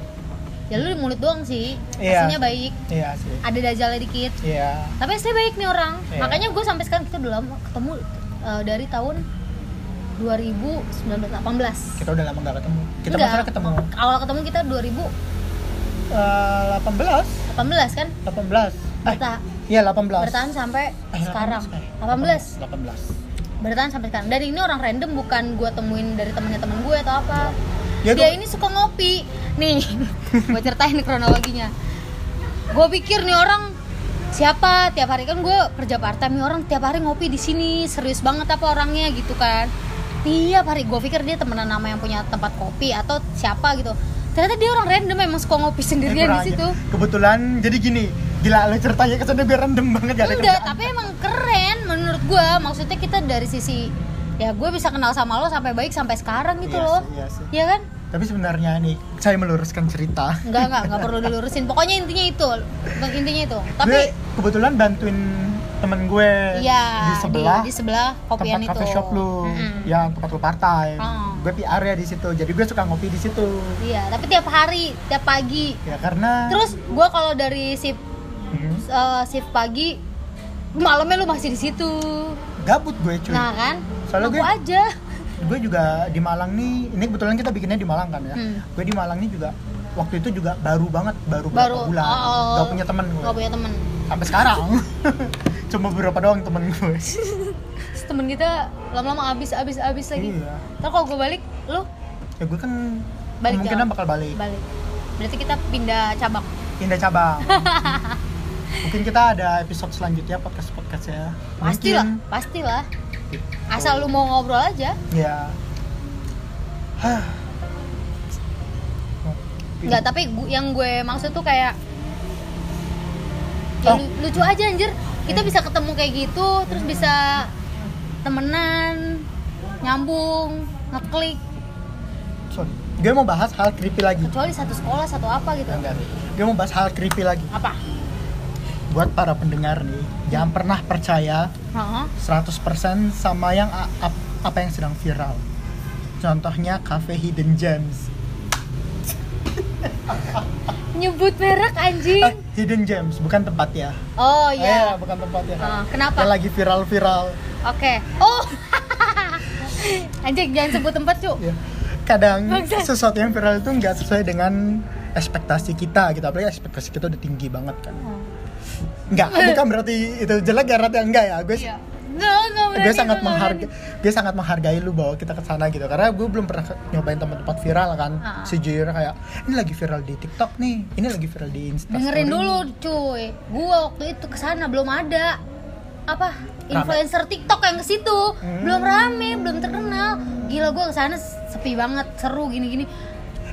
ya lu di mulut doang sih Iya. aslinya baik Iya sih. ada dajalnya dikit Iya. tapi aslinya baik nih orang Iya. makanya gue sampai sekarang kita udah lama ketemu eh, dari tahun 2019 Kita udah lama gak ketemu. Kita Enggak. masalah ketemu awal ketemu kita eh, 18, 2018 kan 18. Eh, Berta- iya 18. bertahan sampai Eh, sekarang 18 18. 18. bertahan sampai sekarang dan ini orang random bukan gue temuin dari temennya temen gue atau apa Ya, dia gua- ini suka ngopi nih gue ceritain nih kronologinya gue pikir nih orang siapa tiap hari kan gue kerja part time nih orang tiap hari ngopi di sini serius banget apa orangnya gitu kan tiap hari gue pikir dia temenan nama yang punya tempat kopi atau siapa gitu ternyata dia orang random emang suka ngopi Eh, sendirian di kurang aja. situ Kebetulan jadi gini, gila lo ceritanya kesana biar rendem banget gak ada enggak kerjaan. tapi emang keren menurut gue maksudnya kita dari sisi ya gue bisa kenal sama lo sampai baik sampai sekarang gitu Iya loh sih, iya sih. Iya kan Tapi sebenarnya nih, saya meluruskan cerita. enggak enggak enggak perlu dilurusin pokoknya intinya itu Untuk intinya itu tapi gue kebetulan bantuin temen gue iya di sebelah di, sebelah kopian tempat itu cafe shop lu, Mm-mm. yang tempat lu partai. Oh. Gue PR ya di situ, jadi gue suka ngopi di situ. iya tapi tiap hari tiap pagi Ya karena terus gue kalau dari shift Hmm, eh, shift pagi malamnya lu masih di situ gabut gue cuy. nah kan Soalnya aku gue- aja gue juga di Malang nih ini kebetulan kita bikinnya di Malang kan ya Hmm. gue di Malang nih juga waktu itu juga baru banget baru, baru berapa bulan oh, gak punya temen gue gak punya temen sampai sekarang cuma beberapa doang temen gue Terus temen kita lama-lama abis abis abis lagi iya Ntar kalau gue balik, lu ya gue kan Balik ya? kemungkinan jalan. bakal balik balik. Berarti kita pindah cabang. pindah cabang mungkin kita ada episode selanjutnya podcast podcast ya Pastilah, Mungkin. pastilah. Asal lu mau ngobrol aja. ya Hah. Enggak, Iya. tapi gu- yang gue maksud tuh kayak ya Oh. Iya. lu- lucu aja anjir. Kita bisa ketemu kayak gitu, terus bisa temenan, nyambung, ngeklik. Sorry. gue mau bahas hal creepy lagi Ya, Kecuali satu sekolah, satu apa gitu. Enggak. gue mau bahas hal creepy lagi Apa? buat para pendengar nih jangan pernah percaya Heeh. 100% sama yang a- ap- apa yang sedang viral contohnya cafe hidden gems Nyebut merek Eh, anjing. hidden gems bukan tempat ya Oh Eh, iya. bukan tempat ya Ah, kenapa? Yang lagi viral viral Oke. Oh. anjing jangan sebut tempat, Cuk. ya kadang Maksud- sesuatu yang viral itu nggak sesuai dengan ekspektasi kita gitu apalagi ekspektasi kita udah tinggi banget kan Oh. nggak bukan berarti itu jelek ya Rat, ya enggak ya gue Iya. Nggak, nggak berani, gue Eh, sangat nggak berani. menghargai gue sangat menghargai lu bahwa kita ke sana gitu karena gue belum pernah ke- nyobain tempat-tempat viral kan Ah. sejujurnya kayak ini lagi viral di TikTok nih ini lagi viral di Insta Dengerin dulu cuy. Gua waktu itu kesana belum ada apa influencer TikTok yang ke situ. Hmm. Belum rame, belum terkenal. Gila gua kesana sepi banget, seru gini-gini.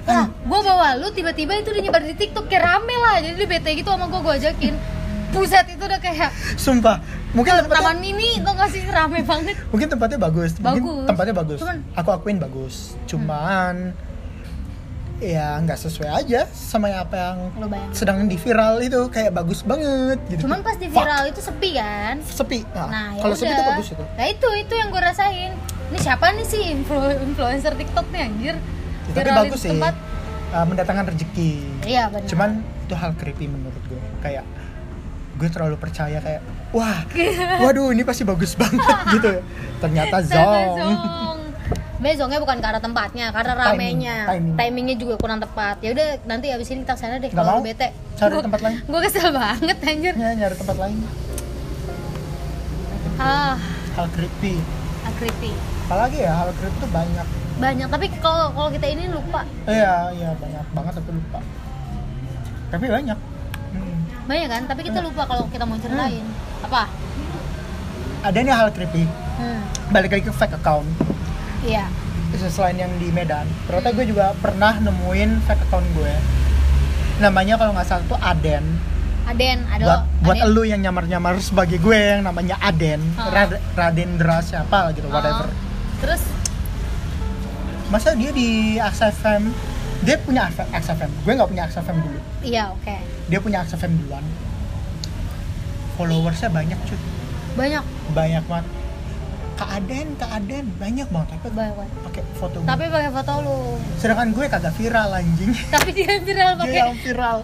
Lah, gua bawa lu tiba-tiba itu dinyebar di TikTok kayak rame lah. Jadi dia bete gitu sama gua gua ajakin. Buset itu udah kayak sumpah mungkin tempatnya taman mini tuh gak sih rame banget. mungkin tempatnya bagus, mungkin Bagus. tempatnya bagus Cuman- aku akuin bagus cuman ya nggak sesuai aja sama yang apa yang Lo Hmm. bayangin. sedang di viral itu kayak bagus banget gitu Cuman pas di Fuck, viral itu sepi kan? sepi nah, Nah, ya kalau sepi itu udah. bagus itu Nah, itu itu yang gue rasain. Ini siapa nih sih influ- influencer TikTok nih anjir? Ya, tapi Viralin bagus sih tempat. uh, mendatangkan rezeki Iya, benar. cuman itu hal creepy menurut gue kayak gue terlalu percaya kayak wah waduh ini pasti bagus banget gitu ternyata zong Bezong. Bezongnya bukan karena tempatnya, karena Timing, ramenya. timing. Timingnya juga kurang tepat. Ya udah nanti abis ini kita kesana deh Nggak kalau mau? bete. cari tempat lain Gue kesel banget anjir. ya nyari tempat lain Ah, hal creepy creepy. apalagi ya hal creepy tuh banyak Banyak tapi kalau kalau kita ini lupa. iya iya banyak banget tapi lupa tapi banyak Hmm. Banyak kan, tapi kita lupa kalau kita mau ceritain. Apa? ada nih hal creepy Hmm. balik lagi ke fake account Iya. selain yang di Medan ternyata gue juga pernah nemuin fake account gue namanya kalau nggak salah tuh Aden Aden, ada buat lo. buat Aden. elu yang nyamar-nyamar sebagai gue yang namanya Aden Ah. Rad- Radendra siapa lah gitu Oh. whatever Terus masa dia di AXFM dia punya AXFM gue nggak punya AXFM dulu iya, oke. dia punya AXFM duluan followersnya banyak cuy Banyak banyak banget Kak Aden, Kak Aden, banyak banget tapi banyak banget. pakai foto gue. Tapi pakai foto lu. sedangkan gue kagak viral anjing Tapi dia viral dia pakai yang viral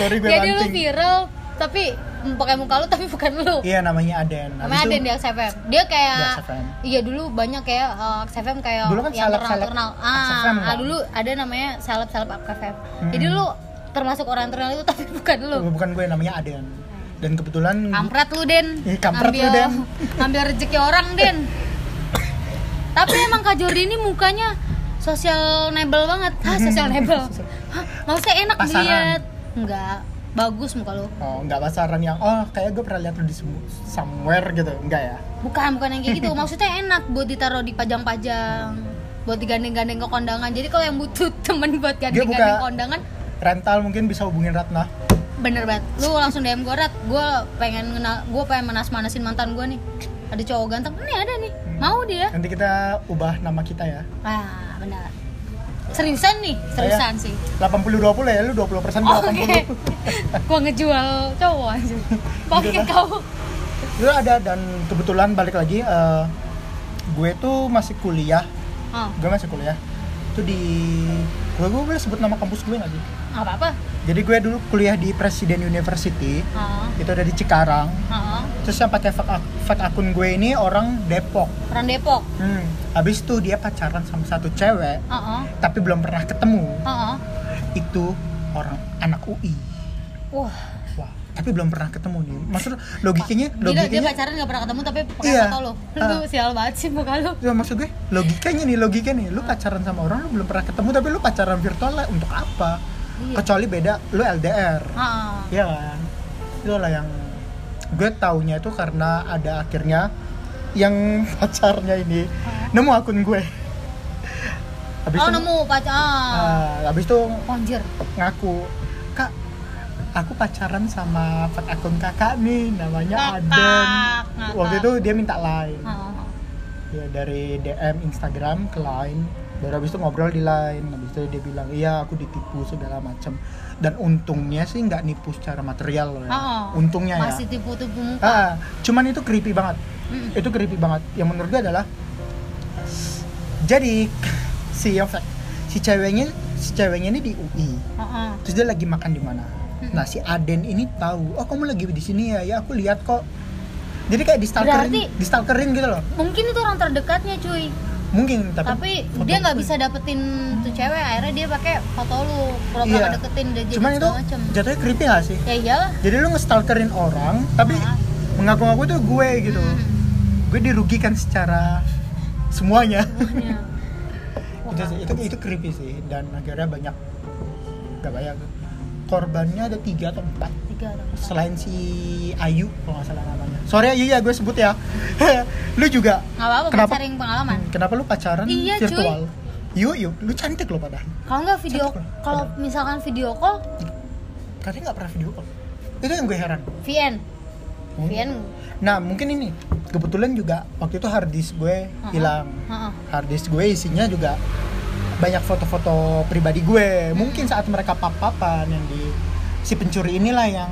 sorry gue dia dulu mancing viral tapi mm, pakai muka lu tapi bukan lu. iya namanya Aden Habis Namanya itu- Aden di XFM. Dia kayak Di XFM. Iya dulu banyak kayak uh, XFM kayak Dulu kan seleb-seleb terkenal. XFM Ah, kan? ah, dulu ada namanya seleb-seleb XFM. Hmm. Jadi lu termasuk orang terkenal itu tapi bukan lu. bukan gue namanya Aden dan kebetulan Kampret lu, Den. Ih, Iya, kampret lu, Ngambil- Den. Ngambil rezeki orang, Den. Tapi emang Kak Jordi ini mukanya social nebel banget. Hah, Hmm. social nebel. Hah, maksudnya enak Pasaran. dilihat. Enggak, bagus muka lu. oh nggak pasaran yang oh kayak gue pernah lihat lu di semu- somewhere gitu enggak ya Bukan, bukan yang kayak gitu. Maksudnya enak buat ditaruh di pajang-pajang, buat digandeng-gandeng ke kondangan. Jadi kalau yang butuh temen buat gandeng-gandeng buka- kondangan, rental mungkin bisa hubungin Ratna bener banget. Lu langsung DM gue, Rat. Gue pengen kenal, gue pengen manas-manasin mantan gue nih. Ada cowok ganteng, nih ada nih. Hmm. Mau dia. nanti kita ubah nama kita ya Ah, benar. Seriusan Oh, nih, seriusan sih. 80 20 ya lu 20 persen Oke. Gua ngejual cowok aja. Pakai Gitu, kau. lu ada dan kebetulan balik lagi eh, gue tuh masih kuliah Oh, gue masih kuliah itu di gue gue boleh sebut nama kampus gue nggak sih nggak apa-apa. jadi gue dulu kuliah di Presiden University Oh, itu ada di Cikarang oh. terus yang pakai fake ak- fake akun gue ini orang Depok Orang Depok. hmm. habis itu dia pacaran sama satu cewek Oh, oh. tapi belum pernah ketemu Oh, oh. itu orang anak UI Wah, wah tapi belum pernah ketemu nih maksud logikanya gila dia logikanya pacaran gak pernah ketemu tapi pakai ya? Iya. foto lo. Lu Ah. tuh sial banget sih muka lu. Ya, maksud gue logikanya nih logika nih lu pacaran sama orang lu belum pernah ketemu tapi lu pacaran virtual lah untuk apa Iya. kecuali beda lu LDR Ah, Iya kan itu lah yang gue taunya itu karena ada akhirnya yang pacarnya ini nemu akun gue habis Oh, itu nemu pacar. Ah. ah, habis itu Anjir. ngaku kak aku pacaran sama fake akun kakak nih namanya Ngakak, Aden ngakak. waktu itu dia minta line Ah, ah. ya dari DM Instagram ke Line baru habis itu ngobrol di Line habis itu dia bilang iya aku ditipu segala macam dan untungnya sih nggak nipu secara material loh Ah, ya. ah. untungnya Masih ya tipu-tipu muka. ah, cuman itu creepy banget Mm-mm. itu creepy banget yang menurut gue adalah jadi si yang fake- si ceweknya si ceweknya ini di UI Ah, ah. terus dia lagi makan di mana Hmm. nah si Aden ini tahu oh kamu lagi di sini ya ya aku lihat kok jadi kayak di stalkerin Berarti- di stalkerin gitu loh Mungkin itu orang terdekatnya, cuy. mungkin tapi, tapi foto- dia nggak bisa dapetin tuh cewek akhirnya dia pakai foto lu pura-pura Iya. deketin dia jadi cuman itu segala macem jatuhnya creepy gak sih ya iyalah jadi lu ngestalkerin orang tapi Ah. mengaku-ngaku tuh gue gitu Hmm. gue dirugikan secara semuanya Iya. Wah, itu, sih, itu itu creepy sih dan akhirnya banyak gak banyak korbannya ada tiga atau empat tiga orang selain si Ayu kalau nggak salah namanya sorry Ayu ya gue sebut ya lu juga nggak apa-apa Kenapa? pacaring pengalaman kenapa lu pacaran Iya, cuy. virtual yuk yuk lu cantik lo padahal kalau nggak video Cantik lah. kalau misalkan video call katanya nggak pernah video call itu yang gue heran VN VN nah mungkin ini kebetulan juga waktu itu harddisk gue Ha-ha. hilang Ha-ha. harddisk gue isinya juga banyak foto-foto pribadi gue mungkin saat mereka pap-papan yang di si pencuri inilah yang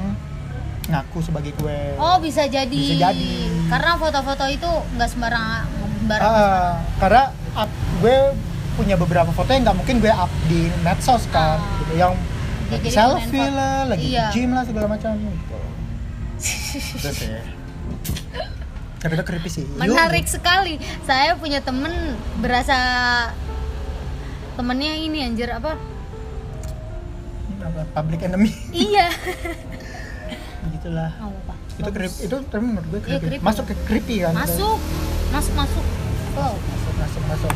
ngaku sebagai gue oh bisa jadi Bisa jadi. karena foto-foto itu nggak sembarang sembarang Ah, karena up- gue punya beberapa foto yang nggak mungkin gue up di medsos kan Ah. gitu yang Ya, lagi jadi selfie komen lah foto. lagi di Iya. gym lah segala macam gitu Itu sih. tapi itu creepy sih Yuk. menarik sekali saya punya temen berasa temennya ini anjir apa Apa, public enemy iya begitulah nggak apa-apa itu Bagus. creepy itu tapi menurut gue Iya, creepy. creepy. masuk ke creepy kan Oh, masuk masuk masuk wow masuk masuk masuk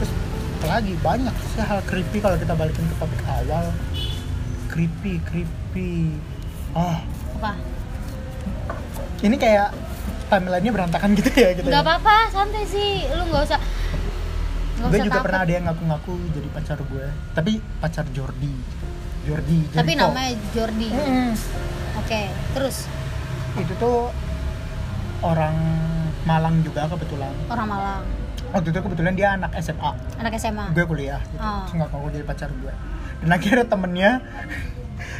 terus apalagi banyak sih hal creepy kalau kita balikin ke topik awal creepy creepy ah apa ini kayak timelinenya berantakan gitu ya gitu nggak ya. apa-apa santai sih lu nggak usah nggak gue usah juga takut pernah ada yang ngaku-ngaku jadi pacar gue tapi pacar Jordi Jordi tapi Jericho. namanya Jordi oke Mm-mm. terus itu tuh orang Malang juga kebetulan orang Malang waktu itu kebetulan dia anak SMA anak SMA gue kuliah gitu. Ah. Terus ngaku-ngaku jadi pacar gue dan akhirnya temennya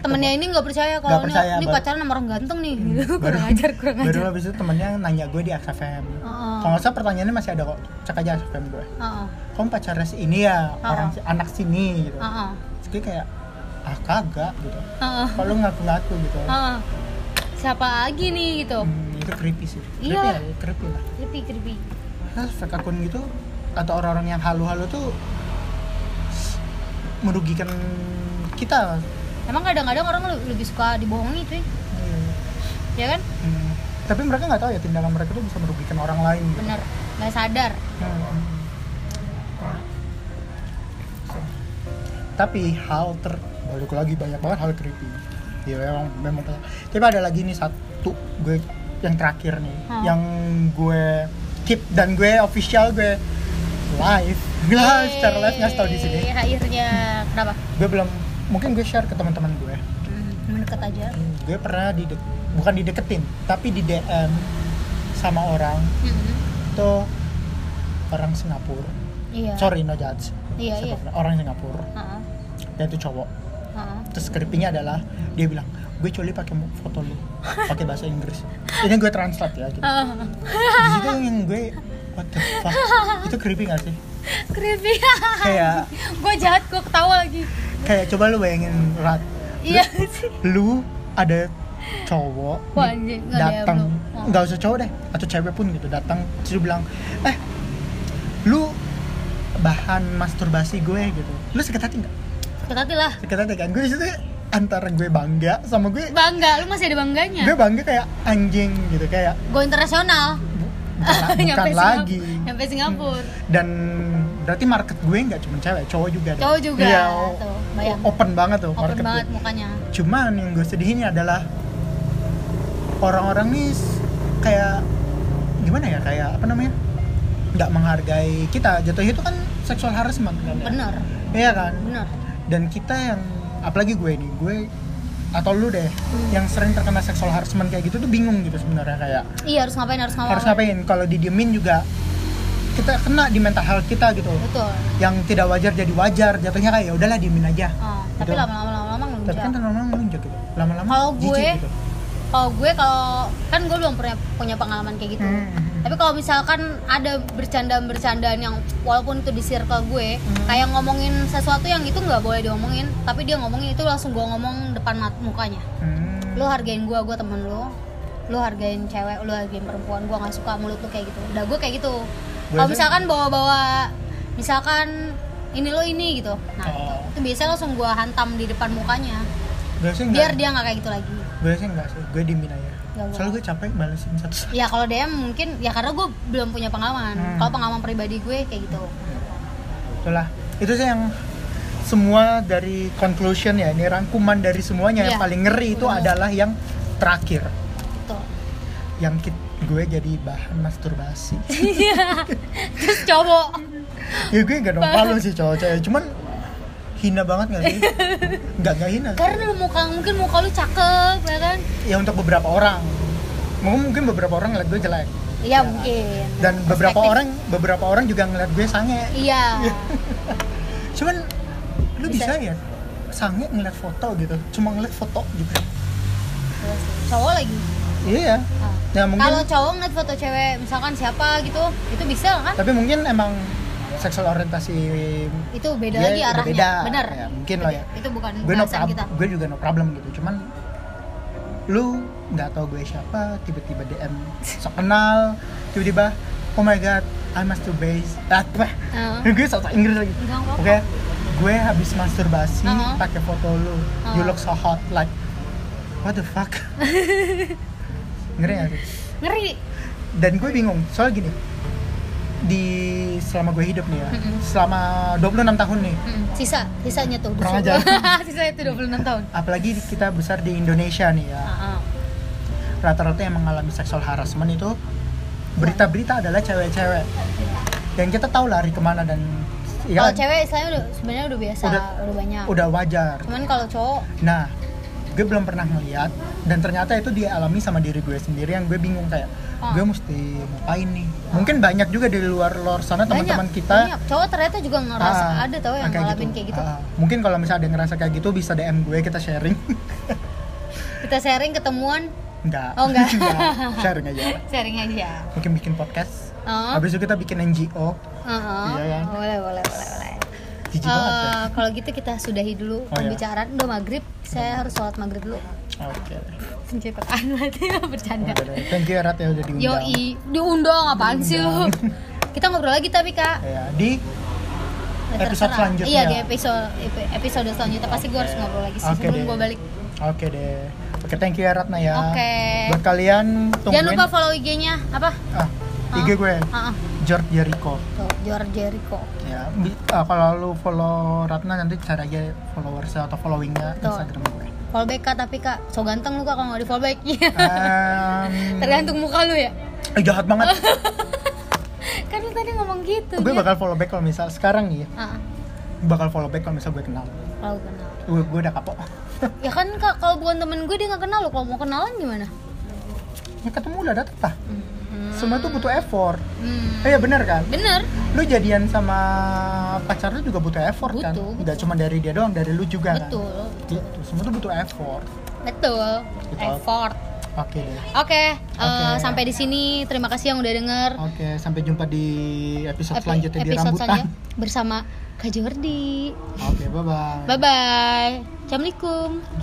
temennya ini nggak percaya kalau Nggak ini, percaya, ini baru- pacaran sama orang ganteng nih kurang ajar kurang baru ajar habis itu temennya nanya gue di XFM Ah. kalau nggak salah pertanyaannya masih ada kok cek aja XFM gue Heeh, kamu pacarnya si ini ya Ah. orang si- anak sini gitu heeh, Terus gue kayak ah kagak gitu heeh, kalau ngaku-ngaku gitu heeh. siapa lagi nih gitu Hmm, itu creepy sih creepy Iya. lah, creepy lah creepy creepy Nah, fake akun gitu atau orang-orang yang halu-halu tuh merugikan kita emang kadang-kadang orang lu- lebih suka dibohongi cuy ya kan Hmm. tapi mereka nggak tahu ya tindakan mereka tuh bisa merugikan orang lain gitu. bener nggak sadar Hmm. tapi hal ter balik lagi banyak banget hal creepy ya memang memang banyak. tapi ada lagi nih satu gue yang terakhir nih Hmm. yang gue keep dan gue official gue live live Ah, secara live nggak tahu di sini Yeay, Iya, akhirnya kenapa gue belum mungkin gue share ke teman-teman gue Hmm, mendekat aja Hmm, gue pernah di bukan dideketin tapi di DM sama orang Hmm, itu orang Singapura iya sorry no judge Iya, iya. Singapura- orang Singapura Heeh, dia itu cowok heeh. terus creepy-nya adalah dia bilang gue coli pakai mo- foto lu pakai bahasa Inggris ini gue translate ya gitu Heeh. di situ yang gue what the fuck itu creepy gak sih creepy kayak gue jahat gue ketawa lagi kayak coba lu bayangin rat iya sih lu ada cowok Wah, anjing, nggak ada ya, datang bro. Oh. nggak usah cowok deh atau cewek pun gitu datang terus dia bilang eh lu bahan masturbasi gue gitu lu sakit hati nggak sakit hati lah sakit hati kan gue disitu antara gue bangga sama gue bangga lu masih ada bangganya gue bangga kayak anjing gitu kayak go internasional bu- bukan, bukan Nyampe lagi Hmm. Singapura. nyampe Singapura dan berarti market gue nggak cuma cewek cowok juga deh. Cowok juga, Iya, o- tuh, bayang. open banget tuh open market banget gue. mukanya cuman yang gue sedihin adalah orang-orang nih s- kayak gimana ya kayak apa namanya nggak menghargai kita jatuhnya itu kan seksual harassment kan ya? bener iya kan bener dan kita yang apalagi gue nih gue atau lu deh Hmm. yang sering terkena seksual harassment kayak gitu tuh bingung gitu sebenarnya kayak iya harus ngapain harus ngapain harus ngapain kalau didiemin juga kita kena di mental health kita gitu betul yang tidak wajar jadi wajar jatuhnya kayak "Ya udahlah diemin aja Oh, tapi Betul. lama-lama lama-lama tapi kan ngelunjak lama-lama ngelunjak gitu Oh, iya. lama-lama Kalau jijik gue- gitu. kalau gue kalau kan gue belum pernah punya pengalaman kayak gitu Hmm. tapi kalau misalkan ada bercandaan-bercandaan yang walaupun itu di circle gue Hmm. kayak ngomongin sesuatu yang itu nggak boleh diomongin tapi dia ngomongin itu langsung gue ngomong depan mat- mukanya Hmm. lu hargain gue gue temen lu lu hargain cewek lu hargain perempuan gue nggak suka mulut lu kayak gitu udah gue kayak gitu kalau aja- misalkan bawa-bawa misalkan ini lo ini gitu nah Oh. itu, itu biasanya langsung gua hantam di depan mukanya gue sih biar Ya enggak- dia nggak kayak gitu lagi gue sih enggak sih gue dimin aja Enggak boleh. soalnya gue capek balesin satu satu ya kalau DM mungkin ya karena gue belum punya pengalaman Hmm. kalau pengalaman pribadi gue kayak gitu itulah itu sih yang semua dari conclusion ya ini rangkuman dari semuanya yang Iya. paling ngeri itu Bener. adalah yang terakhir gitu yang kit- gue jadi bahan masturbasi terus cowok ya gue gak dong malu sih cowok cewek cuman hina banget gak sih nggak nggak hina sih. karena lu muka mungkin muka lu cakep ya kan ya untuk beberapa orang mungkin mungkin beberapa orang ngeliat gue jelek iya mungkin dan beberapa Perspektif. orang beberapa orang juga ngeliat gue sange iya cuman lu bisa, Bisa. ya sange ngeliat foto gitu cuma ngeliat foto gitu Iya sih. cowok lagi iya Ah. ya mungkin kalau cowok ngeliat foto cewek misalkan siapa gitu itu bisa lah kan tapi mungkin emang seksual orientasi itu beda Dia lagi arahnya beda. benar Ya, mungkin lah ya. itu bukan gue no bahasan prob- kita gue juga no problem gitu cuman lu nggak tahu gue siapa tiba-tiba DM sok kenal tiba-tiba oh my god I masturbate ah, apa? Heeh. gue sok Inggris lagi Enggak, enggak oke gue habis masturbasi Uh-huh. pakai foto lu you Uh-huh. look so hot like what the fuck ngeri gak sih ngeri dan gue bingung soal gini di selama gue hidup nih ya Mm-mm. selama 26 tahun nih Mm, sisa sisanya tuh Kurang dusun. ajar. sisanya itu 26 tahun apalagi kita besar di Indonesia nih ya Ah, ah. rata-rata yang mengalami sexual harassment itu berita-berita adalah cewek-cewek dan kita tahu lari kemana dan ya kalau Oh, cewek istilahnya udah sebenarnya udah biasa udah, Udah- banyak udah wajar cuman kalau cowok nah gue belum pernah ngeliat dan ternyata itu dialami sama diri gue sendiri yang gue bingung kayak Ah. gue mesti ngapain nih mungkin banyak juga di luar luar sana teman-teman banyak, kita banyak. cowok ternyata juga ngerasa Ah, ada tau yang kayak ngalamin kayak gitu Ah, mungkin kalau misalnya ada yang ngerasa kayak gitu bisa DM gue kita sharing. kita sharing ketemuan Enggak. Oh, enggak. sharing aja. sharing aja Mungkin bikin podcast. Oh. Habis itu kita bikin NGO. Heeh. Iya kan? boleh boleh boleh boleh Jijik banget ya. Eh, kalau gitu kita sudahi dulu Oh, iya. pembicaraan udah maghrib saya harus sholat maghrib dulu Oke. pencetaan berarti bercanda Udah deh. Thank you Rat ya udah diundang. Yoi, diundang apaan sih lu? Kita ngobrol lagi tapi kak Ya, di Ya, Episode terserah. selanjutnya. Iya di episode episode selanjutnya Pasti gue harus ngobrol lagi sih Oke sebelum deh. gue balik Oke deh. Oke, thank you ya Ratna ya. Oke. Buat kalian tungguin Jangan lupa follow IG-nya Apa? ah, IG gue Ah, ah. George Jericho. Tuh, George Jericho Ya, bi- ah, kalau lu follow Ratna nanti cari aja followers atau followingnya Betul. Instagram gue. Follow back kak tapi kak So ganteng lu kak kalau nggak di follow back Iya. Em, Tergantung muka lu ya eh, jahat banget. Kan lu tadi ngomong gitu gue dia. bakal follow back kalau misal sekarang nih, ya, Ah, ah. bakal follow back kalau misal gue kenal. Kalau kenal Gue, gue udah kapok. Ya kan kak kalau bukan temen gue dia nggak kenal lu Kalau mau kenalan gimana? Ya ketemu udah datang tah. Hmm. Semua tuh butuh effort. Hmm. Eh ya benar kan? Bener Lu jadian sama pacar lu juga butuh effort kan? Butuh, Gak cuma dari dia doang, dari lu juga Betul kan? Gitu. Semua tuh butuh effort. Betul Betul. Effort Oke deh. Oke, eh, Oke. sampai di sini. Terima kasih yang udah denger. Oke, sampai jumpa di episode Epi- selanjutnya di episode rambutan. selanjutnya bersama Kak Jordi. Oke, bye bye. Bye bye. Assalamualaikum.